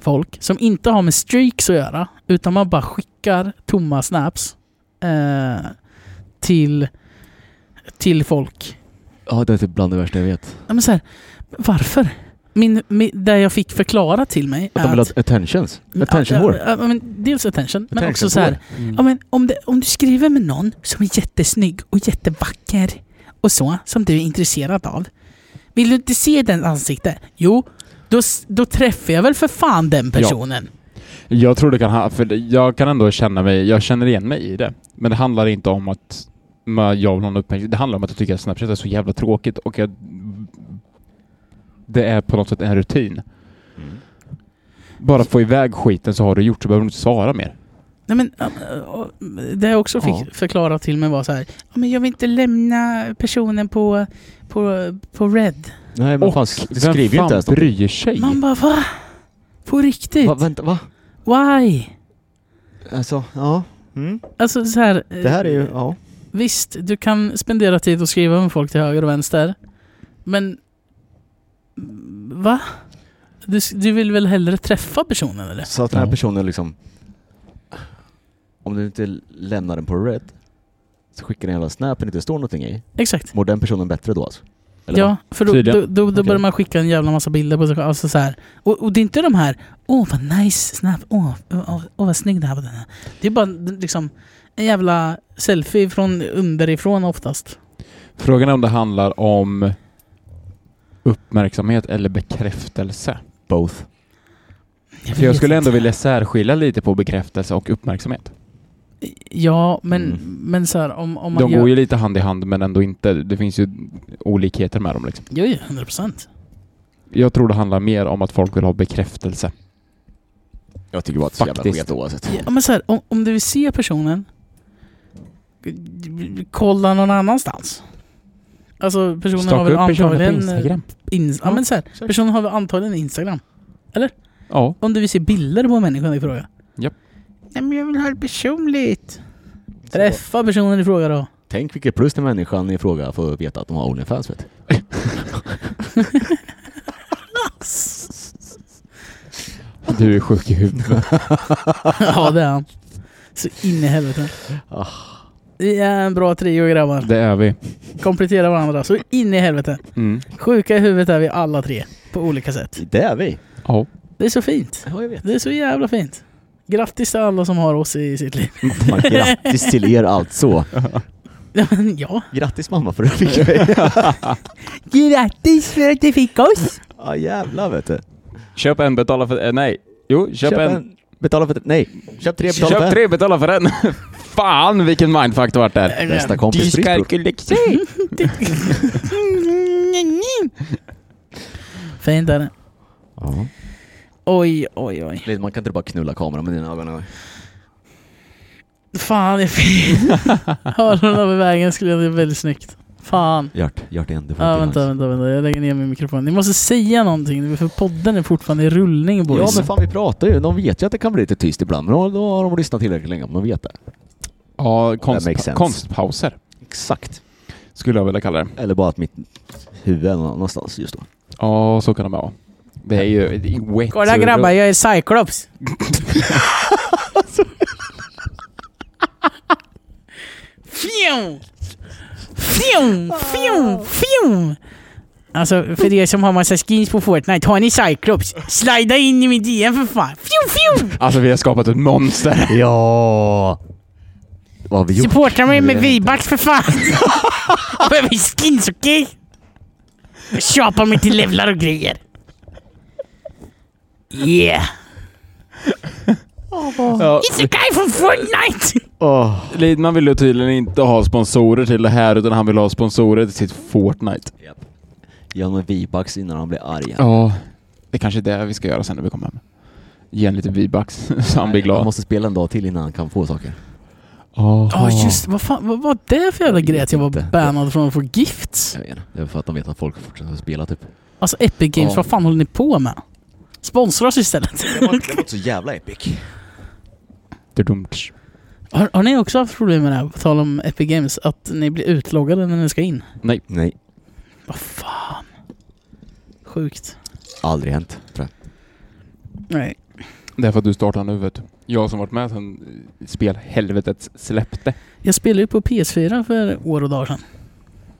[SPEAKER 1] folk som inte har med streaks att göra, utan man bara skickar tomma snaps eh, till, till folk.
[SPEAKER 2] Ja, det är typ bland det värsta jag vet.
[SPEAKER 1] Ja, men så här, varför? Min, min, det jag fick förklara till mig
[SPEAKER 2] Att Mm, de
[SPEAKER 1] är
[SPEAKER 2] vill ha attentions. Attention
[SPEAKER 1] ja,
[SPEAKER 2] whore.
[SPEAKER 1] ja, ja, men dels attention, men
[SPEAKER 2] Attention
[SPEAKER 1] också så här,
[SPEAKER 2] whore.
[SPEAKER 1] Ja, men om, det, om du skriver med någon som är jättesnygg och jättevacker och så, som du är intresserad av. Vill du inte se den ansikte? Jo, då, s- då träffar jag väl för fan den personen.
[SPEAKER 3] Jag tror det kan ha, för det- jag kan ändå känna mig, jag känner igen mig i det. Men det handlar inte om att man- jag vill ha någon uppmärksamhet. Det handlar om att jag tycker att Snapchat är så jävla tråkigt och jag, det är på något sätt en rutin.
[SPEAKER 2] Mm.
[SPEAKER 3] Bara få iväg skiten så har du gjort så behöver du inte svara mer.
[SPEAKER 1] Nej, men, äh, och det jag också fick
[SPEAKER 3] Ja.
[SPEAKER 1] förklara till mig var så här, "Ja, men jag vill inte lämna personen på, på, på red.
[SPEAKER 2] Nej men
[SPEAKER 3] Och
[SPEAKER 2] fan,
[SPEAKER 3] Vem
[SPEAKER 2] skriv ju
[SPEAKER 3] fan
[SPEAKER 2] inte ens någonting.
[SPEAKER 3] bryr sig?
[SPEAKER 1] Man bara va? På riktigt?
[SPEAKER 2] Va, vänta, va?
[SPEAKER 1] Why?
[SPEAKER 2] Alltså, ja. Mm.
[SPEAKER 1] Alltså så här, eh,
[SPEAKER 2] Det här är ju, ja.
[SPEAKER 1] Visst, du kan spendera tid och skriva med folk till höger och vänster. Men... Va? Du, du vill väl hellre träffa personen eller?
[SPEAKER 2] Så att den här
[SPEAKER 3] Ja.
[SPEAKER 2] personen liksom... Om du inte lämnar den på red så skickar den en jävla snap det inte står någonting i.
[SPEAKER 1] Exakt.
[SPEAKER 2] Mår den personen bättre då alltså? Eller
[SPEAKER 1] Ja,
[SPEAKER 2] vad?
[SPEAKER 1] för då, då,
[SPEAKER 3] Tydligen.
[SPEAKER 1] då, då börjar man skicka en jävla massa bilder på sig själv. Alltså så här. Och, och det är inte de här, åh vad nice snap, åh, åh, åh, åh vad snygg det här var. Den här. Det är bara liksom en jävla selfie från underifrån oftast.
[SPEAKER 3] Frågan är om det handlar om uppmärksamhet eller bekräftelse.
[SPEAKER 2] Both.
[SPEAKER 3] För jag
[SPEAKER 1] vet
[SPEAKER 3] skulle
[SPEAKER 1] inte.
[SPEAKER 3] ändå vilja särskilja lite på bekräftelse och uppmärksamhet.
[SPEAKER 1] Ja, men,
[SPEAKER 2] Mm.
[SPEAKER 1] men så här, om, om man
[SPEAKER 3] De
[SPEAKER 1] gör...
[SPEAKER 3] går ju lite hand i hand men ändå inte. Det finns ju olikheter med dem liksom.
[SPEAKER 1] Jo, jo, 100 procent.
[SPEAKER 3] Jag tror det handlar mer om att folk vill ha bekräftelse.
[SPEAKER 2] Jag tycker bara att det är så jävla
[SPEAKER 3] Faktiskt.
[SPEAKER 2] sket oavsett.
[SPEAKER 1] Ja, men så här, om, om du vill se personen, kolla någon annanstans. Alltså personen har
[SPEAKER 3] Staka
[SPEAKER 1] väl
[SPEAKER 3] upp personer på
[SPEAKER 1] antagligen...
[SPEAKER 3] Instagram.
[SPEAKER 1] ins- ja, men så här, personen har väl antagligen Instagram.
[SPEAKER 3] Ja,
[SPEAKER 1] Om du vill se bilder på människan i fråga.
[SPEAKER 3] Japp.
[SPEAKER 1] Nej men jag vill ha det personligt. Träffa personen i
[SPEAKER 3] [laughs]
[SPEAKER 1] fråga då.
[SPEAKER 2] Tänk vilket plus den människan i fråga får veta att de har Onlyfans vet du.
[SPEAKER 3] du är sjuk i huvudet.
[SPEAKER 1] ja det är han. Så in i helvete.
[SPEAKER 3] Ah.
[SPEAKER 1] Det är en bra trio grabbar.
[SPEAKER 3] Det är vi.
[SPEAKER 1] Komplettera varandra så in i helvete.
[SPEAKER 3] Mm.
[SPEAKER 1] Sjuka i huvudet är vi alla tre. På olika sätt.
[SPEAKER 2] Det är vi.
[SPEAKER 3] Ja.
[SPEAKER 1] Det är så fint.
[SPEAKER 2] Ja, jag vet.
[SPEAKER 1] Det är så jävla fint. Grattis till alla som har oss i sitt liv. [laughs]
[SPEAKER 2] Man, grattis till er alltså.
[SPEAKER 1] Ja, men ja.
[SPEAKER 2] Grattis mamma för att du fick [laughs] mig.
[SPEAKER 1] Grattis för att du fick oss!
[SPEAKER 2] Ja jävlar vet du.
[SPEAKER 3] Köp en, betala för... eh, nej. Jo, köp, en.
[SPEAKER 2] Betala för... Nej. Köp tre, betala för
[SPEAKER 3] Köp tre, betala för en. [laughs] Fan vilken mindfuck det vart där.
[SPEAKER 2] Bästa kompis fritt, bror.
[SPEAKER 3] Mhm.
[SPEAKER 1] [laughs] Fint är det.
[SPEAKER 2] Ja.
[SPEAKER 1] Oj, oj, oj.
[SPEAKER 2] Lite, Man kan inte bara knulla kameran med dina ögon.
[SPEAKER 1] Fan, det är
[SPEAKER 2] [laughs]
[SPEAKER 1] fint. Hörlurarna över vägen skulle jag det är väldigt snyggt. Fan.
[SPEAKER 2] Hjärt, hjärt igen. Du får
[SPEAKER 1] Ja,
[SPEAKER 2] inte
[SPEAKER 1] vänta,
[SPEAKER 2] chans.
[SPEAKER 1] vänta, vänta. Jag lägger ner min mikrofon. Ni måste säga någonting, för podden är fortfarande i rullning
[SPEAKER 2] Ja
[SPEAKER 1] boys.
[SPEAKER 2] men fan vi pratar ju. De vet ju att det kan bli lite tyst ibland. Men då, då har de lyssnat tillräckligt länge om de vet det.
[SPEAKER 3] [laughs] Ja, konst,
[SPEAKER 2] That makes sense.
[SPEAKER 3] konstpauser
[SPEAKER 2] Exakt.
[SPEAKER 3] skulle jag vilja kalla det.
[SPEAKER 2] Eller bara att mitt huvud är någon annanstans just då.
[SPEAKER 3] Ja, så kan det vara. Det är ju det är wet.
[SPEAKER 1] Kolla grabbar, jag är Cyclops. Fjum! Fjum! Fjum! Fjum! Alltså för er som har massa skins på Fortnite, har ni Cyclops? Slida in i min DM för fan! Fjum! Fjum!
[SPEAKER 3] Alltså vi har skapat ett monster. [laughs]
[SPEAKER 2] Ja! Vad har vi gjort?
[SPEAKER 1] Supporta mig med
[SPEAKER 2] det är
[SPEAKER 1] V-bucks för fan!
[SPEAKER 2] [laughs]
[SPEAKER 1] Jag behöver skins, okej? Jag köper mig till levlar och grejer. Yeah!
[SPEAKER 3] Ja,
[SPEAKER 1] It's a guy from Fortnite!
[SPEAKER 2] Åh.
[SPEAKER 3] Lidman vill ju tydligen inte ha sponsorer till det här utan han vill ha sponsorer till sitt Fortnite.
[SPEAKER 2] Ge honom en V-bucks innan han blir arg.
[SPEAKER 3] Ja, det är kanske är det vi ska göra sen när vi kommer hem. Ge en lite V-bucks [laughs] så han blir
[SPEAKER 2] Han
[SPEAKER 3] glad.
[SPEAKER 2] måste spela en dag till innan han kan få saker.
[SPEAKER 3] Ja,
[SPEAKER 1] Ja just vad fan, vad var det för jävla grej att jag
[SPEAKER 2] inte.
[SPEAKER 1] var bannad från att få gifts?
[SPEAKER 2] Jag vet inte. Det är för att de vet att folk fortsätter att spela typ.
[SPEAKER 1] Alltså Epic Games,
[SPEAKER 3] Ja.
[SPEAKER 1] vad fan håller ni på med? Sponsra oss istället. [laughs]
[SPEAKER 2] Det var, det var inte så jävla epic.
[SPEAKER 3] Dudumtsch.
[SPEAKER 1] Har, har ni också haft problem med det här, på tal om Epic Games? Att ni blir utloggade när ni ska in?
[SPEAKER 3] Nej,
[SPEAKER 2] Nej,
[SPEAKER 1] Vad fan? Sjukt.
[SPEAKER 2] aldrig hänt tror jag.
[SPEAKER 1] Nej.
[SPEAKER 3] det är för att du startar nu vet du. Jag som varit med sen eh, spelhelvetet släppte.
[SPEAKER 1] Jag spelade ju på PS4 för år och dagar sedan.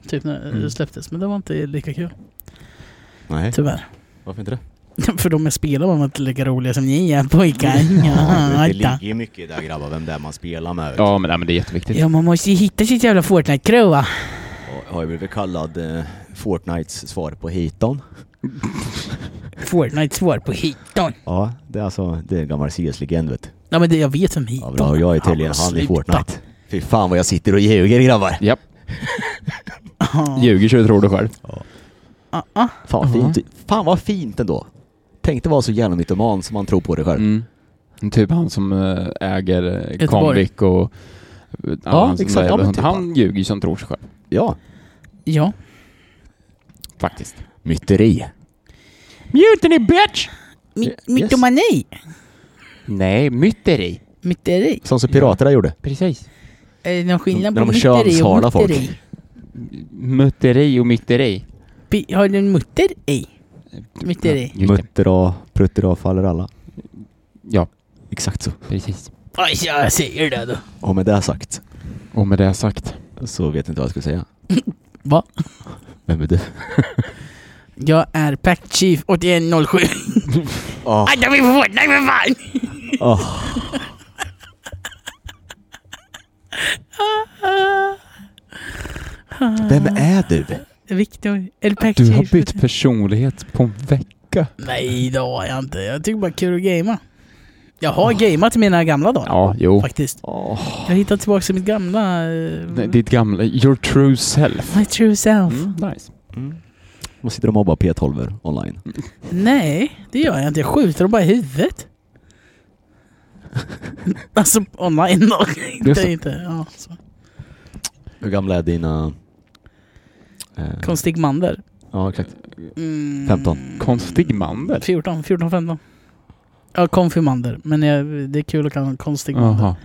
[SPEAKER 1] Typ när
[SPEAKER 3] Mm.
[SPEAKER 1] det släpptes, men det var inte lika kul.
[SPEAKER 2] Nej,
[SPEAKER 1] Tyvärr. [laughs]
[SPEAKER 2] varför inte det?
[SPEAKER 1] För de jag spelar var inte lika roliga som ni är pojkar. Ja,
[SPEAKER 2] ju mycket i det grabbar, vem det är man spelar med.
[SPEAKER 3] Ja men, nej, men det är jätteviktigt.
[SPEAKER 1] ja, man måste ju hitta sitt jävla Fortnite-crew va?
[SPEAKER 2] Jag har ju blivit kallad eh, Fortnites svar på Hiton.
[SPEAKER 1] Fortnite svar på Hiton.
[SPEAKER 2] Ja, det är alltså, det är en gammal CS-legend vet du.
[SPEAKER 1] Ja men det, jag vet vem Hiton
[SPEAKER 2] Ja, bra, jag är tydligen han i Fortnite. Fy fan vad jag sitter och ljuger grabbar.
[SPEAKER 3] Japp.
[SPEAKER 1] Ja.
[SPEAKER 3] Ljuger så du tror det själv.
[SPEAKER 1] Ah, ah.
[SPEAKER 2] Fan vad fint, fan vad fint ändå. Tänk dig vara så jävla mytoman som man tror på det själv.
[SPEAKER 3] Mm. Typ han som eh, äger eh,
[SPEAKER 1] Göteborg.
[SPEAKER 3] Comviq och... Ja,
[SPEAKER 2] exakt. Ja, men
[SPEAKER 3] han,
[SPEAKER 2] typ
[SPEAKER 3] han
[SPEAKER 2] han.
[SPEAKER 3] ljuger ju som tror sig själv.
[SPEAKER 2] Ja.
[SPEAKER 1] Ja.
[SPEAKER 3] Faktiskt.
[SPEAKER 2] Myteri.
[SPEAKER 3] Mutiny bitch!
[SPEAKER 1] Mi-
[SPEAKER 2] Yes.
[SPEAKER 1] Mytomani.
[SPEAKER 3] Nej, myteri.
[SPEAKER 1] Myteri.
[SPEAKER 2] Som så piraterna gjorde.
[SPEAKER 3] Precis.
[SPEAKER 1] Är det någon skillnad
[SPEAKER 2] När
[SPEAKER 1] på
[SPEAKER 2] de
[SPEAKER 1] myteri och
[SPEAKER 2] könshalar folk.
[SPEAKER 1] mutteri?
[SPEAKER 3] Mutteri och myteri.
[SPEAKER 1] Bi- Har du en mutter i? Mitt i dig.
[SPEAKER 3] Just det.
[SPEAKER 4] Muttra, pruttra faller alla.
[SPEAKER 3] Ja,
[SPEAKER 4] Exakt så.
[SPEAKER 3] precis.
[SPEAKER 1] Oj, jag säger det då.
[SPEAKER 2] Och med det sagt
[SPEAKER 3] Och med det sagt.
[SPEAKER 2] så vet jag inte vad jag ska säga.
[SPEAKER 1] Va?
[SPEAKER 2] Vem är du?
[SPEAKER 1] Jag är Pack Chief 8107.
[SPEAKER 2] Oh,
[SPEAKER 1] Aj, jag blir förvånad, nej men fan!
[SPEAKER 2] Ah. Vem är du?
[SPEAKER 1] Ah, Viktor, eller Pack
[SPEAKER 3] Du
[SPEAKER 1] Chief.
[SPEAKER 3] har bytt personlighet på en vecka.
[SPEAKER 1] Nej, det har jag inte. Jag tycker bara kul att gamea. Jag
[SPEAKER 2] Ah.
[SPEAKER 1] har gameat i mina gamla dagar.
[SPEAKER 3] Ja, jo.
[SPEAKER 1] Faktiskt.
[SPEAKER 3] Oh,
[SPEAKER 1] Jag har hittat tillbaka till mitt gamla... eh,
[SPEAKER 3] ditt gamla, your true self. Mm,
[SPEAKER 1] My true self.
[SPEAKER 2] Mm.
[SPEAKER 3] Nice.
[SPEAKER 2] Och sitter och mobbar P12 online.
[SPEAKER 1] Nej, det gör jag inte. Jag skjuter dem bara i huvudet. alltså online då.
[SPEAKER 3] Just
[SPEAKER 1] inte,
[SPEAKER 3] det.
[SPEAKER 1] inte. Ja, så.
[SPEAKER 2] Hur gamla är dina... Eh,
[SPEAKER 1] Konstigmander.
[SPEAKER 2] ja, exakt.
[SPEAKER 1] Mm,
[SPEAKER 2] 15.
[SPEAKER 3] Konstigmander.
[SPEAKER 1] 14, 14, 15. Ja, konfirmander. Men jag, det är kul att kalla dem konstigmander.
[SPEAKER 3] Jaha.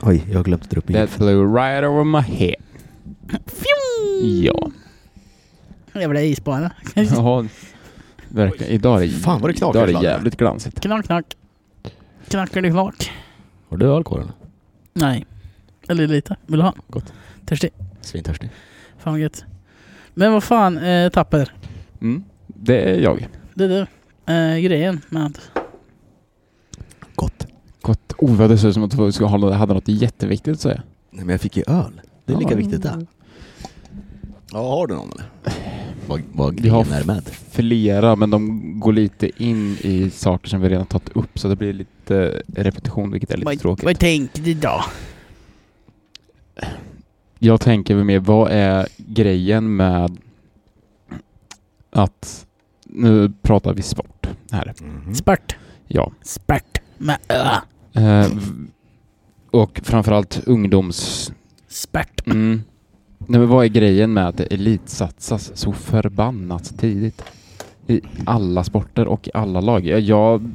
[SPEAKER 4] Oj, jag har glömt dra upp min
[SPEAKER 3] That flew right over my head.
[SPEAKER 1] Fjong!
[SPEAKER 3] Ja.
[SPEAKER 1] Jävla isbana.
[SPEAKER 3] Jaha. Verkligen. Idag är det,
[SPEAKER 2] Fan, vad det knakar
[SPEAKER 3] idag är det
[SPEAKER 2] ibland.
[SPEAKER 3] jävligt glansigt.
[SPEAKER 1] Knack, knack. Knackar du knack?
[SPEAKER 2] Har du alkohol eller?
[SPEAKER 1] Nej. Eller lite. Vill du ha?
[SPEAKER 2] Gott.
[SPEAKER 1] Törstig?
[SPEAKER 2] Svintörstig.
[SPEAKER 1] Fan vad gött. Men vad fan, eh, Tapper.
[SPEAKER 3] Mm. Det är jag.
[SPEAKER 1] Det är du. Eh, grejen med...
[SPEAKER 2] Gott.
[SPEAKER 3] Gott. Oh, vad det ser ut som att du ska hålla- hade något jätteviktigt att säga.
[SPEAKER 2] Nej, men jag fick ju öl. Det är lika
[SPEAKER 3] Ja.
[SPEAKER 2] viktigt det. Ja, har du någon eller? Vad, vad
[SPEAKER 3] Vi har
[SPEAKER 2] grejen är med?
[SPEAKER 3] flera, men de går lite in i saker som vi redan tagit upp, så det blir lite repetition, vilket är lite
[SPEAKER 1] Vad,
[SPEAKER 3] tråkigt.
[SPEAKER 1] vad tänkte du då?
[SPEAKER 2] Mm.
[SPEAKER 3] Jag tänker väl mer, vad är grejen med att... Nu pratar vi sport här.
[SPEAKER 2] Mm-hmm.
[SPEAKER 1] Spört.
[SPEAKER 3] Ja.
[SPEAKER 1] Spört. Med ö.
[SPEAKER 3] Eh, v- och framförallt ungdoms...
[SPEAKER 1] Spört.
[SPEAKER 3] Mm. Nej, men vad är grejen med att det elitsatsas så förbannat tidigt? I alla sporter och i alla lag. Jag, jag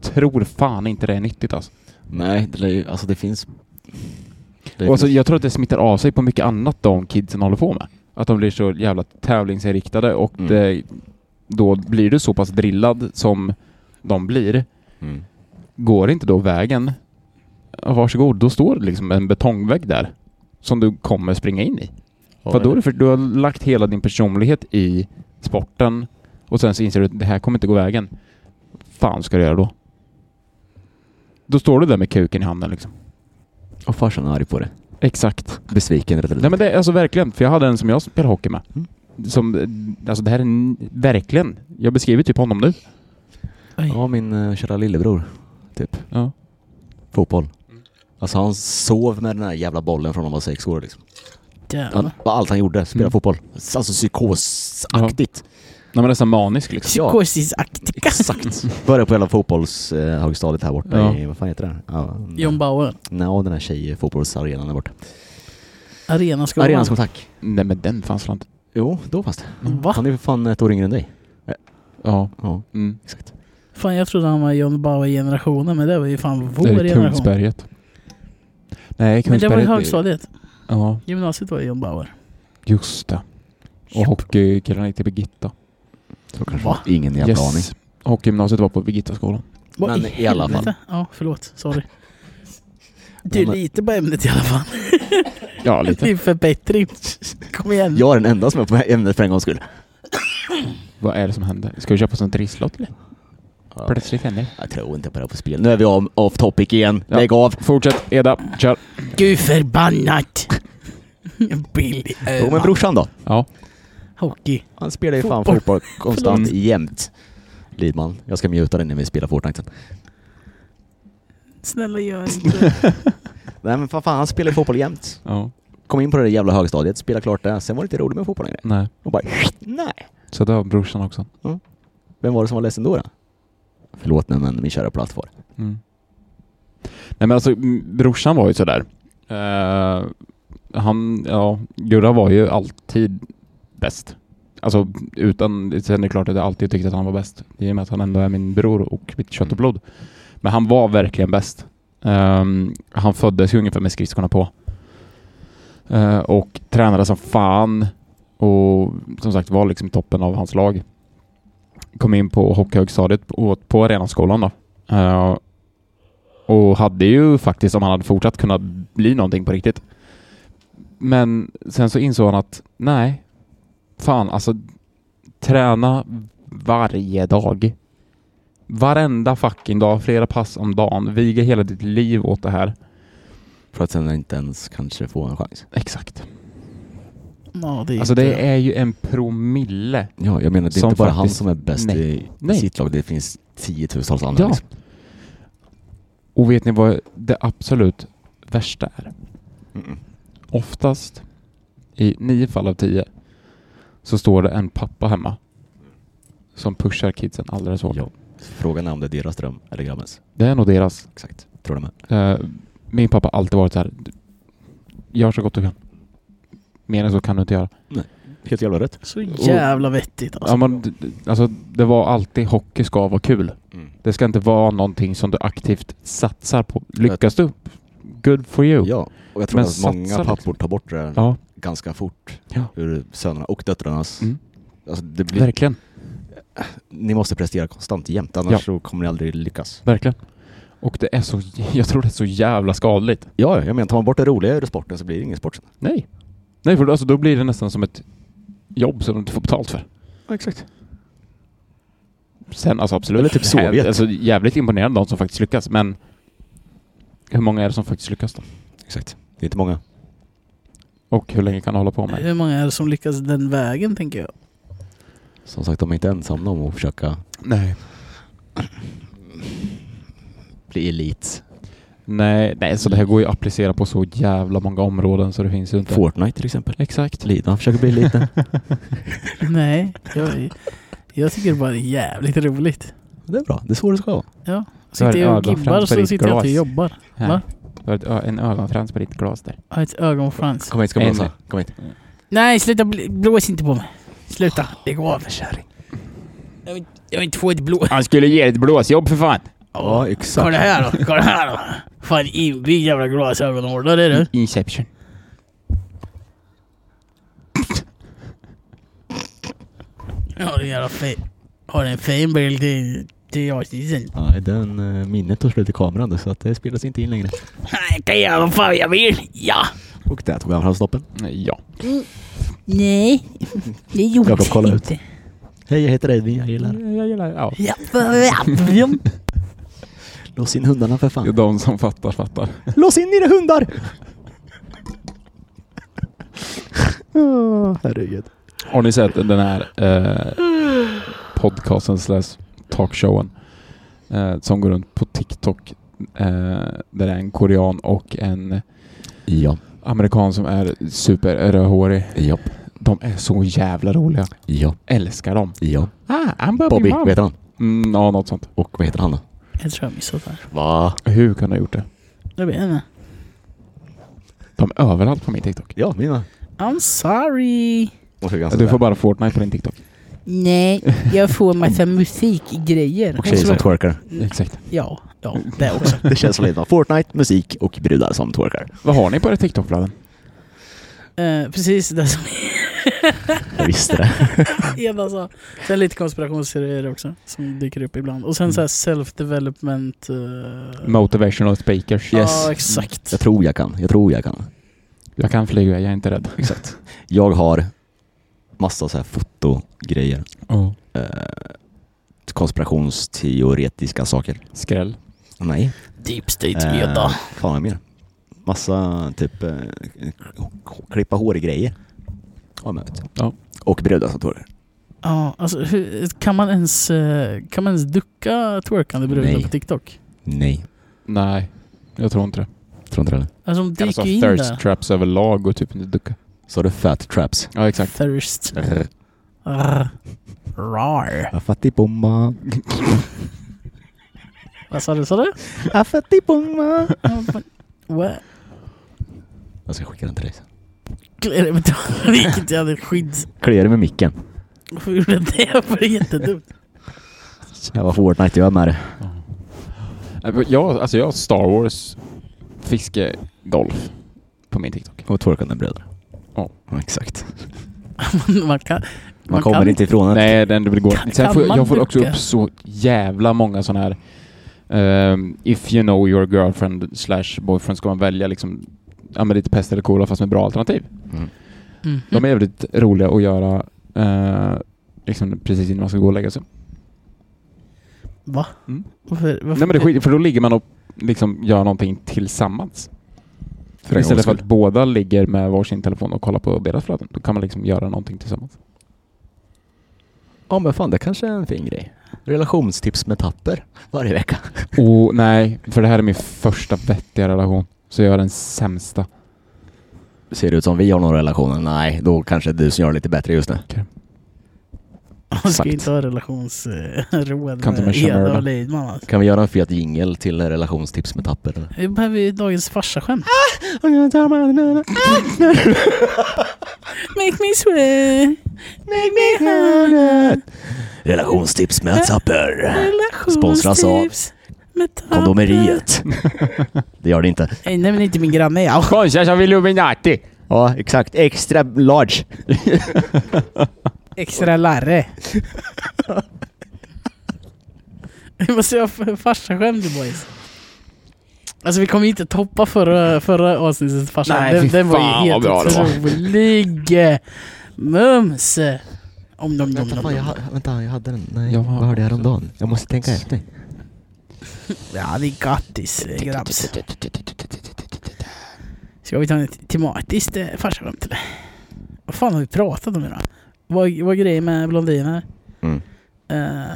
[SPEAKER 3] tror fan inte det är nyttigt alltså.
[SPEAKER 2] Nej, det, är ju- alltså det finns... Det
[SPEAKER 3] Och alltså,
[SPEAKER 2] finns-
[SPEAKER 3] jag tror att det smittar av sig på mycket annat de kidsen håller på med. Att de blir så jävla tävlingsinriktade och
[SPEAKER 2] Mm.
[SPEAKER 3] det, då blir du så pass drillad som de blir.
[SPEAKER 2] Mm.
[SPEAKER 3] Går inte då vägen, ja, varsågod, då står det liksom en betongvägg där som du kommer springa in i. För då är det för, du har lagt hela din personlighet i sporten och sen så inser du att det här kommer inte gå vägen. Fan ska du göra då? Då står du där med kuken i handen liksom.
[SPEAKER 2] Och farsan är arg på det.
[SPEAKER 3] Exakt.
[SPEAKER 2] Besviken rättare
[SPEAKER 3] Nej
[SPEAKER 2] sagt.
[SPEAKER 3] men det är alltså verkligen, för jag hade en som jag spelade hockey med. Som, eh, alltså det här är n- verkligen, jag beskriver typ honom nu.
[SPEAKER 2] Ja, min uh, kära lillebror. Typ.
[SPEAKER 3] Ja.
[SPEAKER 2] Fotboll. Alltså han sov med den här jävla bollen från han var sex år liksom. Han,
[SPEAKER 1] Jävlar.
[SPEAKER 2] var allt han gjorde, spela
[SPEAKER 3] Mm.
[SPEAKER 2] fotboll. Alltså psykosaktigt.
[SPEAKER 3] Nej men nästan manisk liksom.
[SPEAKER 2] Ja.
[SPEAKER 1] Psykosisaktika.
[SPEAKER 2] Exakt. Började på hela fotbollshögstadiet här borta
[SPEAKER 3] Ja.
[SPEAKER 2] i, vad fan heter det? Ja,
[SPEAKER 1] John Bauer.
[SPEAKER 2] no, den här tjejfotbollsarenan där borta.
[SPEAKER 1] Arenaskolan.
[SPEAKER 2] Arenans kontrakt.
[SPEAKER 3] Nej men den fanns väl inte.
[SPEAKER 2] Jo, då fanns det.
[SPEAKER 1] Va?
[SPEAKER 2] Han är ju för fan ett år yngre än dig.
[SPEAKER 3] Ja.
[SPEAKER 2] Ja,
[SPEAKER 3] Mm.
[SPEAKER 2] exakt.
[SPEAKER 1] Fan jag trodde han var John Bauer-generationen men det var ju fan vår
[SPEAKER 3] det är
[SPEAKER 1] generation.
[SPEAKER 3] Kungsberget. Nej,
[SPEAKER 1] Men
[SPEAKER 3] Kungsberget.
[SPEAKER 1] det var i
[SPEAKER 3] är-
[SPEAKER 1] högstadiet.
[SPEAKER 3] Ja,
[SPEAKER 1] Gymnasiet var ju John Bauer.
[SPEAKER 3] just det. Och hockeykillarna gick till Birgitta.
[SPEAKER 2] Så kanske.
[SPEAKER 1] Va?
[SPEAKER 2] Ingen jävla aning.
[SPEAKER 3] Hockeygymnasiet var på Birgittaskolan.
[SPEAKER 1] Vad
[SPEAKER 2] Men i alla
[SPEAKER 1] helvete?
[SPEAKER 2] fall.
[SPEAKER 1] Ja, förlåt. Sorry. Du är
[SPEAKER 2] men-
[SPEAKER 1] lite på ämnet i alla fall.
[SPEAKER 3] Ja,
[SPEAKER 1] Det
[SPEAKER 3] lite.
[SPEAKER 1] är en förbättring. Kom igen.
[SPEAKER 2] Jag är den enda som är på ämnet för en gångs skull.
[SPEAKER 3] Vad är det som händer? Ska vi köpa sånt risslott eller? Plötsligt händer
[SPEAKER 2] Jag tror inte på det här på spel. Nu är vi om- off topic igen.
[SPEAKER 3] Ja. Eh,
[SPEAKER 2] Lägg av.
[SPEAKER 3] Fortsätt, Eda. Kör.
[SPEAKER 1] Gud förbannat! Billy
[SPEAKER 2] Jo, men
[SPEAKER 1] Öhman.
[SPEAKER 2] brorsan då?
[SPEAKER 3] Ja.
[SPEAKER 1] Hockey.
[SPEAKER 2] Han spelar ju fan
[SPEAKER 1] Fotboll.
[SPEAKER 2] fotboll konstant
[SPEAKER 3] Förlåt.
[SPEAKER 2] jämt. Lidman. Jag ska mjuta dig när vi spelar Fortnite sen.
[SPEAKER 1] Snälla gör inte.
[SPEAKER 2] Nej men fan, fan han spelar ju fotboll jämt.
[SPEAKER 3] Ja.
[SPEAKER 2] Kom in på det där jävla högstadiet, spela klart det. Sen var det inte roligt med fotboll längre.
[SPEAKER 3] Nej.
[SPEAKER 2] Och bara nej.
[SPEAKER 3] Så det var brorsan också.
[SPEAKER 2] Vem var det som var ledsen då? då? Förlåt nu men min kära plattfar.
[SPEAKER 3] Mm. Nej men alltså m- brorsan var ju sådär. Uh, han, ja, Gurra var ju alltid bäst. Alltså utan, sen är det klart att jag alltid tyckte att han var bäst. I och med att han ändå är min bror och mitt kött och blod. Men han var verkligen bäst. Ehm, han föddes ju ungefär med skridskorna på. Eh, och tränade som fan. Och som sagt var liksom toppen av hans lag. kom in på hockeyhögstadiet på, på Arenaskolan då. Eh, och hade ju faktiskt, om han hade fortsatt, kunnat bli någonting på riktigt. Men sen så insåg han att nej, fan alltså träna varje dag. Varenda fucking dag, flera pass om dagen. Viga hela ditt liv åt det här.
[SPEAKER 2] För att sen inte ens kanske få en chans.
[SPEAKER 3] Exakt.
[SPEAKER 1] Ja, det är
[SPEAKER 3] Alltså det
[SPEAKER 1] inte-
[SPEAKER 3] är ju en promille.
[SPEAKER 2] Ja, jag menar det är
[SPEAKER 3] Som
[SPEAKER 2] inte bara han
[SPEAKER 3] faktiskt-
[SPEAKER 2] som är bäst
[SPEAKER 3] Nej.
[SPEAKER 2] i
[SPEAKER 3] Nej.
[SPEAKER 2] sitt lag. Det finns tiotusentals andra.
[SPEAKER 3] Ja.
[SPEAKER 2] Liksom.
[SPEAKER 3] Och vet ni vad det absolut värsta är? Oftast, i nio fall av tio, så står det en pappa hemma som pushar kidsen alldeles hårt.
[SPEAKER 2] Ja. Frågan är om det är deras dröm eller grabbens.
[SPEAKER 3] Det är nog deras.
[SPEAKER 2] Exakt. Tror de är.
[SPEAKER 3] Eh, min pappa har alltid varit så här. "Du, Gör så gott du kan. Mer än så kan du inte göra.
[SPEAKER 2] Helt jävla rätt.
[SPEAKER 1] Så jävla vettigt
[SPEAKER 3] Ja,
[SPEAKER 1] alltså.
[SPEAKER 3] men, d- d- alltså, det var alltid hockey ska vara kul.
[SPEAKER 2] Mm.
[SPEAKER 3] Det ska inte vara någonting som du aktivt satsar på. Lyckas du, good for you.
[SPEAKER 2] Ja, och jag tror
[SPEAKER 3] Men
[SPEAKER 2] att många
[SPEAKER 3] satsa
[SPEAKER 2] pappor
[SPEAKER 3] liksom.
[SPEAKER 2] tar bort det där
[SPEAKER 3] Ja,
[SPEAKER 2] ganska fort.
[SPEAKER 3] Ja.
[SPEAKER 2] Ur sönerna och döttrarnas.
[SPEAKER 3] Mm.
[SPEAKER 2] Alltså, det blir,
[SPEAKER 3] verkligen.
[SPEAKER 2] ni måste prestera konstant jämt, annars
[SPEAKER 3] Ja.
[SPEAKER 2] så kommer ni aldrig lyckas.
[SPEAKER 3] Verkligen. Och det är så, jag tror det är så jävla skadligt.
[SPEAKER 2] Ja, jag menar tar man bort det roliga ur sporten så blir det ingen sport sen.
[SPEAKER 3] Nej. Nej, för alltså, då blir det nästan som ett jobb som du inte får betalt för.
[SPEAKER 2] exakt.
[SPEAKER 3] Sen alltså absolut.
[SPEAKER 2] Eller typ
[SPEAKER 3] jäv-
[SPEAKER 2] Sovjet.
[SPEAKER 3] Alltså, jävligt imponerande de som faktiskt lyckas, men hur många är det som faktiskt lyckas då?
[SPEAKER 2] Exakt. Det är inte många.
[SPEAKER 3] Och hur länge kan du hålla på med det?
[SPEAKER 1] Hur många är det som lyckas den vägen tänker jag?
[SPEAKER 2] Som sagt, de är inte ensamma om att försöka
[SPEAKER 3] Nej.
[SPEAKER 2] bli elit.
[SPEAKER 3] Nej, nej, så det här går ju att applicera på så jävla många områden så det finns ju inte.
[SPEAKER 2] Fortnite till exempel.
[SPEAKER 3] Exakt.
[SPEAKER 2] Lina försöker bli elit nu.
[SPEAKER 1] Nej, jag, jag tycker det bara är jävligt roligt.
[SPEAKER 2] [laughs] Det är bra. Det är så det ska vara.
[SPEAKER 1] Sitter jag och
[SPEAKER 3] ögon
[SPEAKER 1] gibbar
[SPEAKER 3] framför
[SPEAKER 1] så
[SPEAKER 3] ditt
[SPEAKER 1] sitter jag inte och
[SPEAKER 3] glas.
[SPEAKER 1] jobbar.
[SPEAKER 3] Här.
[SPEAKER 1] Va?
[SPEAKER 3] Du har ett ö- en ögonfrans på ditt glas där.
[SPEAKER 1] Har ett ögonfrans.
[SPEAKER 2] Kom hit, ska
[SPEAKER 3] En.
[SPEAKER 2] blåsa. Kom hit.
[SPEAKER 1] Nej, sluta bl- blås inte på mig. Sluta,
[SPEAKER 3] Ah.
[SPEAKER 1] lägg av. Jag vill, jag vill inte få ett blå...
[SPEAKER 3] Han skulle ge ett blåsjobb för fan!
[SPEAKER 2] Ja,
[SPEAKER 1] Kolla
[SPEAKER 2] exakt.
[SPEAKER 1] här då, kolla här då. Fan inbyggd jävla glasögonhårdare är du.
[SPEAKER 3] Inception.
[SPEAKER 1] Har en jävla fin... Har en fin bild till, till avsnittet.
[SPEAKER 2] Nej, den eh, minnet tog slut i kameran då, så att det spelas inte in längre.
[SPEAKER 1] Nej, kan göra vad fan jag vill. [laughs] Ja.
[SPEAKER 2] Och där tog han fram snoppen.
[SPEAKER 3] Ja.
[SPEAKER 1] Nej, [laughs] det gjorde
[SPEAKER 2] Jakob, kolla
[SPEAKER 1] jag
[SPEAKER 2] ut.
[SPEAKER 1] inte.
[SPEAKER 2] Hej, jag heter Edvin. Jag gillar
[SPEAKER 3] Jag gillar ja.
[SPEAKER 1] Ja, ja.
[SPEAKER 2] Lås in hundarna för
[SPEAKER 3] Det är
[SPEAKER 2] fan.
[SPEAKER 3] de som fattar, fattar.
[SPEAKER 2] Lås in era [laughs] hundar! Åh, Herregud.
[SPEAKER 3] Har ni sett den här eh, podcasten slash talkshowen eh, som går runt på TikTok eh, där det är en korean och en
[SPEAKER 2] Ja.
[SPEAKER 3] amerikan som är superrödhårig.
[SPEAKER 2] Ja.
[SPEAKER 3] De är så jävla roliga.
[SPEAKER 2] Ja.
[SPEAKER 3] Älskar dem.
[SPEAKER 2] Ja.
[SPEAKER 3] Ah, I'm Bobby,
[SPEAKER 2] Bobby,
[SPEAKER 3] Mom.
[SPEAKER 2] vad heter han?
[SPEAKER 3] Mm, ja, något sånt.
[SPEAKER 2] Och vad heter han då?
[SPEAKER 1] Jag tror jag missade det här.
[SPEAKER 2] Va?
[SPEAKER 3] Hur kan du ha gjort det?
[SPEAKER 1] Jag vet inte.
[SPEAKER 3] De är överallt på min TikTok.
[SPEAKER 2] Ja, mina.
[SPEAKER 1] I'm sorry.
[SPEAKER 3] Du får bara Fortnite på din TikTok.
[SPEAKER 1] Nej, jag får massa musikgrejer. Alltså,
[SPEAKER 2] Och tjejer som twerkar.
[SPEAKER 3] Exakt.
[SPEAKER 1] Ja, ja, det också.
[SPEAKER 2] Det känns som lite av Fortnite, musik och brudar som twerkar.
[SPEAKER 3] Vad har ni på era TikTok-flöden?
[SPEAKER 1] Eh, precis det som
[SPEAKER 2] Jag visste det.
[SPEAKER 1] Eva sa. alltså, Sen lite konspirationsteorier också som dyker upp ibland. Och
[SPEAKER 2] Mm.
[SPEAKER 1] sen så här self-development. eh,
[SPEAKER 3] Motivational speakers.
[SPEAKER 1] Ja, exakt.
[SPEAKER 2] Jag tror jag kan. Jag tror jag kan.
[SPEAKER 3] Mm. Jag kan flyga, jag är inte rädd. Exakt.
[SPEAKER 2] Jag har massa så här fotogrejer.
[SPEAKER 3] Oh.
[SPEAKER 2] Eh, konspirationsteoretiska saker.
[SPEAKER 3] Skräll.
[SPEAKER 2] Nej.
[SPEAKER 1] Deep state-meda.
[SPEAKER 2] Eh, fan vad mer? Massa typ eh, klippa hår-grejer. Har jag med, vet du.
[SPEAKER 3] Ja.
[SPEAKER 2] Och brudar som twerkar.
[SPEAKER 1] Ja, alltså hur, kan man ens, eh, kan man ens ducka twerkande brudar
[SPEAKER 2] Nej.
[SPEAKER 1] på TikTok?
[SPEAKER 2] Nej.
[SPEAKER 3] Nej, jag tror inte det.
[SPEAKER 2] Tror inte det.
[SPEAKER 1] Alltså de dyker
[SPEAKER 3] Alltså
[SPEAKER 1] ju in
[SPEAKER 3] thirst
[SPEAKER 1] där.
[SPEAKER 3] traps överlag och typ inte ducka.
[SPEAKER 2] Så har du fat traps.
[SPEAKER 3] Ja, exakt.
[SPEAKER 1] Thirst.
[SPEAKER 2] Eh,
[SPEAKER 1] Arr. Rar.
[SPEAKER 2] Afatipomma.
[SPEAKER 1] Vad sa du? Sa du?
[SPEAKER 2] Afatipomma.
[SPEAKER 1] What?
[SPEAKER 2] Jag ska skicka den till dig sen.
[SPEAKER 1] Klär med tång, vilket jag hade skit.
[SPEAKER 2] Kliar det med micken.
[SPEAKER 1] Varför gjorde jag det? För det är jättedumt.
[SPEAKER 2] Jag var Fortnite, jag är med det.
[SPEAKER 3] Jag, alltså jag har Star Wars fiske golf på min TikTok.
[SPEAKER 2] Och twerkande brudar.
[SPEAKER 3] Ja.
[SPEAKER 2] exakt.
[SPEAKER 1] Man kan,
[SPEAKER 4] Man, kommer
[SPEAKER 1] kan-
[SPEAKER 4] inte ifrån att...
[SPEAKER 3] Nej, den, det går
[SPEAKER 1] Kan-
[SPEAKER 3] Sen
[SPEAKER 1] kan
[SPEAKER 3] får,
[SPEAKER 1] man
[SPEAKER 3] jag får också
[SPEAKER 1] ducka?
[SPEAKER 3] upp så jävla många sådana här ehm, If you know your girlfriend slash boyfriend ska man välja liksom ja, men lite pest eller cola fast med bra alternativ.
[SPEAKER 2] Mm.
[SPEAKER 1] Mm.
[SPEAKER 3] De är jävligt roliga att göra eh, liksom precis innan man ska gå och lägga sig.
[SPEAKER 1] Va?
[SPEAKER 3] Mm.
[SPEAKER 1] Varför,
[SPEAKER 3] Nej
[SPEAKER 1] varför?
[SPEAKER 3] men det är skit, för då ligger man och liksom gör någonting tillsammans.
[SPEAKER 2] en
[SPEAKER 3] Istället
[SPEAKER 2] gångs
[SPEAKER 3] för
[SPEAKER 2] skull.
[SPEAKER 3] att båda ligger med varsin telefon och kollar på deras flöden. Då kan man liksom göra någonting [laughs] tillsammans.
[SPEAKER 2] Ja men fan, det kanske är en fin grej. Relationstips med Tapper varje vecka.
[SPEAKER 3] Och Oh, nej, för det här är min första vettiga relation. Så jag är den sämsta.
[SPEAKER 2] Ser det ut som vi har någon relation? Nej, då kanske du som gör det lite bättre just nu.
[SPEAKER 1] Man ska
[SPEAKER 2] Exakt.
[SPEAKER 1] inte ha relationsråd
[SPEAKER 3] Kan inte man
[SPEAKER 1] med
[SPEAKER 3] köra
[SPEAKER 1] Eda
[SPEAKER 3] det?
[SPEAKER 1] och Lidman. alltså.
[SPEAKER 2] Kan vi göra en fet jingel till relationstips med Tapper? eller?
[SPEAKER 1] Vi behöver ju dagens farsaskämt. Ah! Make me swear. Make me harder.
[SPEAKER 2] Relationstips med Tapper. Sponsras av
[SPEAKER 1] Relationstips. med tapper.
[SPEAKER 2] Kondomeriet. Det gör det inte.
[SPEAKER 1] Nej, nej, men inte min granne. Ja.
[SPEAKER 3] Konstigt som Illuminati!
[SPEAKER 2] Ja, exakt. Extra large.
[SPEAKER 1] Extra larre. [laughs] Vi måste ha f- farsaskämt boys. Alltså vi kommer ju inte toppa förra, förra avsnittets farsa.
[SPEAKER 3] Nej,
[SPEAKER 1] Den,
[SPEAKER 3] fy
[SPEAKER 1] den var
[SPEAKER 3] fan,
[SPEAKER 1] ju
[SPEAKER 3] vad
[SPEAKER 1] helt
[SPEAKER 3] bra det var.
[SPEAKER 1] otrolig. Mums! Om dom dom dom. dom.
[SPEAKER 2] vänta, jag hade den. Nej,
[SPEAKER 3] Jag har vad hörde jag också.
[SPEAKER 2] häromdagen? Jag måste tänka efter.
[SPEAKER 1] Ja det är grattis eh, grabbs. Ska vi ta ett tematiskt eh, farsaskämt eller? Vad fan har vi pratat om idag? Vad, vad är grejen med blondiner?
[SPEAKER 2] Mm.
[SPEAKER 1] Eh,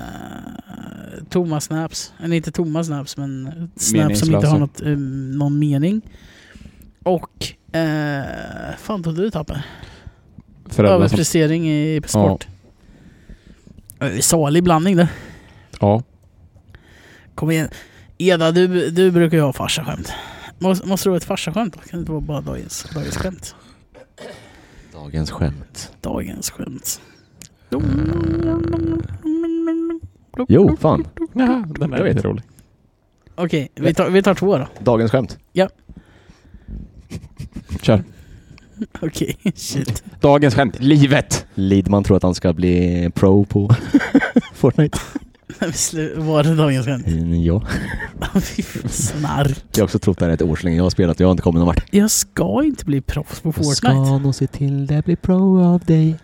[SPEAKER 1] tomma snaps. Eller inte tomma snaps men snaps som inte
[SPEAKER 3] Meningslösa.
[SPEAKER 1] har något, eh, någon mening. Och eh, fan tog du Tapper?
[SPEAKER 3] Föräldrar som...
[SPEAKER 1] Överprestering i sport. Eh, Salig blandning det.
[SPEAKER 3] Ja.
[SPEAKER 1] Kom igen. Eda, du, du brukar ju ha farsaskämt. Måste, måste du ha ett farsaskämt då? Kan det inte vara bara dagens, dagens skämt?
[SPEAKER 2] Dagens skämt.
[SPEAKER 1] Dagens skämt.
[SPEAKER 3] Mm.
[SPEAKER 2] Jo, fan.
[SPEAKER 3] ja den
[SPEAKER 2] Jag
[SPEAKER 3] är
[SPEAKER 2] vet.
[SPEAKER 3] lite rolig.
[SPEAKER 1] Okej, vi, tar, vi tar två då.
[SPEAKER 2] Dagens skämt.
[SPEAKER 3] Kör.
[SPEAKER 1] Okej, [laughs] shit.
[SPEAKER 3] Dagens skämt. Livet!
[SPEAKER 2] Lidman tror att han ska bli pro på [laughs] Fortnite.
[SPEAKER 1] Slu- Var det dagens skämt? [laughs]
[SPEAKER 2] Ja.
[SPEAKER 1] Fy fan, Snark.
[SPEAKER 2] Jag har också trott det här ett år så länge jag har spelat. Jag har inte kommit någon vart.
[SPEAKER 1] Jag ska inte bli proffs på Fortnite.
[SPEAKER 2] nog se till det blir pro av dig.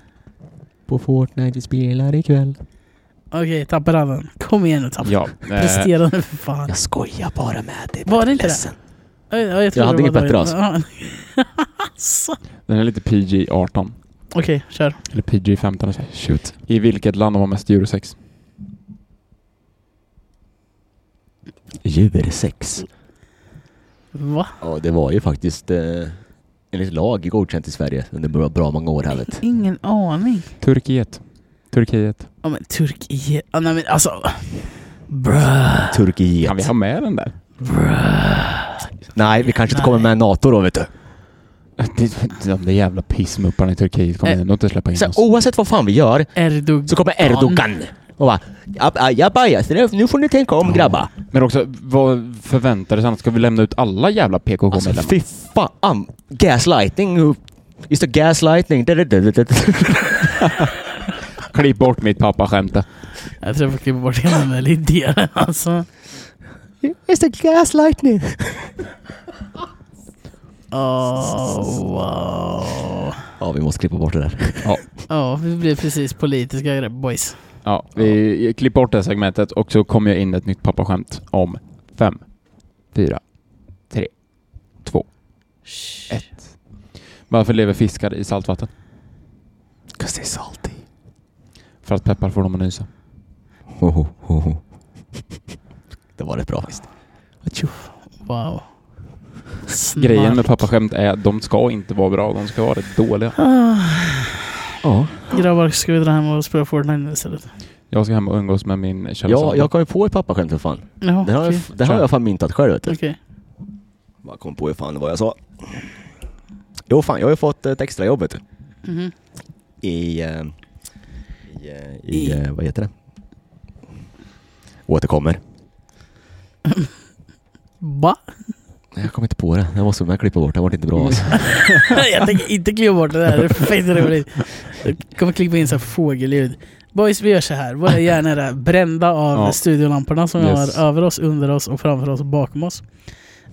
[SPEAKER 2] På Fortnite vi spelar ikväll.
[SPEAKER 1] Okej, tappa den. Kom igen nu tappa.
[SPEAKER 3] Ja. Eh,
[SPEAKER 1] Prestera nu för fan.
[SPEAKER 2] Jag skojar bara med dig.
[SPEAKER 1] Var det inte det?
[SPEAKER 2] Ledsen.
[SPEAKER 1] Ja, ja, jag, tror
[SPEAKER 2] Jag hade
[SPEAKER 1] det var
[SPEAKER 2] inget bättre alltså.
[SPEAKER 1] dagens- Ja. [laughs] Så.
[SPEAKER 3] den är lite PG-18.
[SPEAKER 1] Okej, kör.
[SPEAKER 3] Eller PG-15. alltså.
[SPEAKER 2] Shoot.
[SPEAKER 3] I vilket land har man mest djursex?
[SPEAKER 2] Djursex.
[SPEAKER 1] Va?
[SPEAKER 2] Ja, det var ju faktiskt eh, enligt lag godkänt i Sverige under bra, bra många år här vet.
[SPEAKER 1] Ingen aning.
[SPEAKER 3] Turkiet. Turkiet.
[SPEAKER 1] Ja men Turkiet. Ja, nej men alltså. Bruh.
[SPEAKER 2] Turkiet.
[SPEAKER 3] Kan vi ha med den där?
[SPEAKER 2] Nej, vi kanske inte kommer med NATO då vet du.
[SPEAKER 3] De där jävla pissmupparna i Turkiet kommer
[SPEAKER 1] Eh,
[SPEAKER 3] ändå inte släppa in
[SPEAKER 2] Så, oh.
[SPEAKER 3] oss.
[SPEAKER 2] oavsett vad fan vi gör
[SPEAKER 1] Erdogan.
[SPEAKER 2] så kommer Erdogan och bara "Ab- aj, ab- aj, så det- nu får ni tänka om grabbar.
[SPEAKER 3] Men också, vad förväntar sig annars? Ska vi lämna ut alla jävla
[SPEAKER 2] Alltså
[SPEAKER 3] PKK-medlemmar?
[SPEAKER 2] fy fan. Gaslighting. Just det, gaslighting.
[SPEAKER 3] Klipp bort mitt pappaskämt.
[SPEAKER 1] Jag tror jag får klippa bort hela den där idén alltså.
[SPEAKER 2] Just det, gaslighting.
[SPEAKER 1] Oh, wow.
[SPEAKER 2] Ja, vi måste klippa bort det där.
[SPEAKER 1] Ja, vi blir precis politiska grejer, boys.
[SPEAKER 3] Ja, vi klipp bort det här segmentet och så kommer jag in ett nytt pappaskämt om fem, fyra, tre, två, ett. Varför lever fiskar i saltvatten?
[SPEAKER 2] Cause it's salty.
[SPEAKER 3] För att peppar får dem att nysa.
[SPEAKER 2] Ho, ho, ho, ho. Det var rätt bra faktiskt. Atjo.
[SPEAKER 1] Wow. Snark.
[SPEAKER 3] Grejen med pappaskämt är att de ska inte vara bra, de ska vara rätt dåliga.
[SPEAKER 1] Ah,
[SPEAKER 2] Ja,
[SPEAKER 1] grabbar, ska vi dra hem och spela Fortnite nu istället?
[SPEAKER 3] Jag ska hem och umgås med min källa
[SPEAKER 2] ja jag kom ju på ett pappaskämt för fan.
[SPEAKER 1] Jaha,
[SPEAKER 2] Det har,
[SPEAKER 1] okej.
[SPEAKER 2] jag, det har jag fan myntat själv vet du.
[SPEAKER 1] Okej.
[SPEAKER 2] Jag kom på hur fan vad jag sa. Jo fan, jag har ju fått ett extrajobb vet du.
[SPEAKER 1] Mhm.
[SPEAKER 2] I... eh, I... eh, i eh, vad heter det? Återkommer.
[SPEAKER 1] Va? [laughs]
[SPEAKER 2] Jag kom inte på det. Jag måste jag klippa bort det. Det vart inte bra alltså.
[SPEAKER 1] jag tänker inte klippa bort det där, det är fett roligt. Jag kommer klippa in så här fågelljud. Boys, vi gör så här. Våra hjärnor är brända av
[SPEAKER 3] Ja.
[SPEAKER 1] studiolamporna som vi
[SPEAKER 3] Yes.
[SPEAKER 1] har över oss, under oss och framför oss och bakom oss.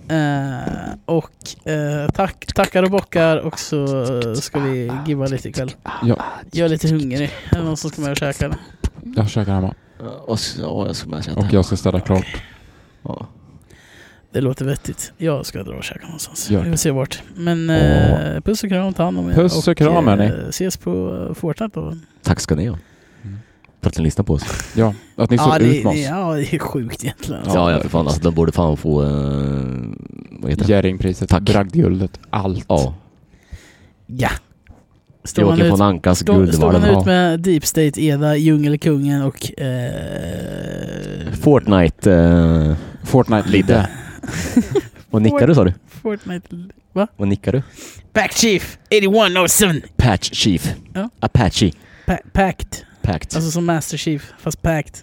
[SPEAKER 1] Eh, och eh, tack, tackar och bockar och så ska vi gibba lite ikväll.
[SPEAKER 3] Ja.
[SPEAKER 1] Jag är lite hungrig. Är det någon som ska med och käka? eller?
[SPEAKER 3] Jag käkar hemma.
[SPEAKER 2] Och så, ja, jag ska med
[SPEAKER 3] Och jag ska städa klart.
[SPEAKER 2] Ja.
[SPEAKER 1] Det låter vettigt. Jag ska dra och käka någonstans.
[SPEAKER 3] Gör det.
[SPEAKER 1] Vi får se vart. Men eh, puss och kram, ta hand om er.
[SPEAKER 3] Puss och kram, hörni.
[SPEAKER 1] eh, Ses på Fortnite då.
[SPEAKER 2] Tack ska ni ha.
[SPEAKER 3] Mm.
[SPEAKER 2] För att ni lyssnar på oss.
[SPEAKER 3] Ja, att ni
[SPEAKER 1] Ja
[SPEAKER 3] såg
[SPEAKER 1] det,
[SPEAKER 3] ut med
[SPEAKER 1] det,
[SPEAKER 3] oss.
[SPEAKER 1] ja, det är sjukt egentligen.
[SPEAKER 3] Ja,
[SPEAKER 2] Ja,
[SPEAKER 3] det
[SPEAKER 2] ja
[SPEAKER 3] är
[SPEAKER 2] för fan. Alltså, de borde fan få... eh, vad heter det?
[SPEAKER 3] Jerringpriset,
[SPEAKER 2] Tack.
[SPEAKER 3] bragdguldet, allt.
[SPEAKER 2] Ja.
[SPEAKER 1] Ja. Står man,
[SPEAKER 2] Joakim
[SPEAKER 1] ut,
[SPEAKER 2] von Ankas
[SPEAKER 1] står, står man
[SPEAKER 2] guldvalv.
[SPEAKER 3] Ja.
[SPEAKER 1] ut med Deep State, Eda, Djungelkungen och... Eh,
[SPEAKER 2] Fortnite... eh,
[SPEAKER 3] Fortnite lite.
[SPEAKER 2] [laughs] vad nickar du sa du?
[SPEAKER 1] Fortnite...
[SPEAKER 2] Vad nickar du?
[SPEAKER 1] Pack Chief 8107!
[SPEAKER 2] Patch Chief.
[SPEAKER 1] Ja.
[SPEAKER 2] Apache.
[SPEAKER 1] Pa- packed.
[SPEAKER 2] Pact.
[SPEAKER 1] Alltså som Master Chief, fast packed.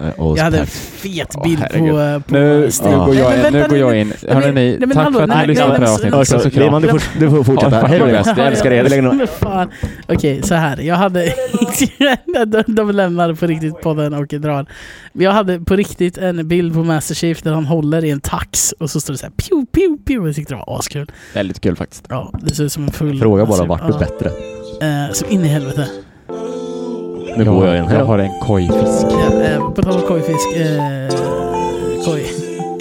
[SPEAKER 2] Eh, och
[SPEAKER 1] Jag hade en
[SPEAKER 2] Pact.
[SPEAKER 1] fet
[SPEAKER 3] Åh,
[SPEAKER 1] bild
[SPEAKER 3] herregud.
[SPEAKER 1] på, eh, på
[SPEAKER 3] Nu, nu,
[SPEAKER 1] Steam.
[SPEAKER 3] går
[SPEAKER 1] Nej, men
[SPEAKER 3] jag in, nu
[SPEAKER 1] vänta
[SPEAKER 3] går jag in.
[SPEAKER 1] men-
[SPEAKER 3] Hörrni,
[SPEAKER 1] nej, men
[SPEAKER 3] tack
[SPEAKER 1] hallå,
[SPEAKER 3] för att
[SPEAKER 1] nej,
[SPEAKER 3] ni lyssnade på det här
[SPEAKER 1] nej, men-
[SPEAKER 3] avsnittet. Puss och kram.
[SPEAKER 2] Lehmann, du får, du får fortsätta.
[SPEAKER 3] Ja,
[SPEAKER 2] Hej då.
[SPEAKER 3] bäst. Jag älskar er.
[SPEAKER 2] Vi lägger
[SPEAKER 1] Men fan. Okej, så här. Jag hade... [laughs] de, de lämnar på riktigt podden och drar. Jag hade på riktigt en bild på Master Chief där han håller i en tax och så står det så här pew, pew, pew. Jag tyckte det var askul.
[SPEAKER 3] Väldigt kul faktiskt.
[SPEAKER 1] Ja, det ser ut som en full...
[SPEAKER 2] Fråga bara
[SPEAKER 1] alltså,
[SPEAKER 2] vart
[SPEAKER 1] ja.
[SPEAKER 2] du bättre.
[SPEAKER 1] Eh, så in i helvete.
[SPEAKER 2] Nu går jag igen. Hej
[SPEAKER 3] Jag
[SPEAKER 2] då.
[SPEAKER 3] har en kojfisk.
[SPEAKER 1] Ja, eh, på tal om kojfisk. Eh, koj.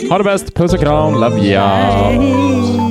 [SPEAKER 2] Ah.
[SPEAKER 3] Ha det bäst. Puss och kram. Love ya.
[SPEAKER 1] Hej.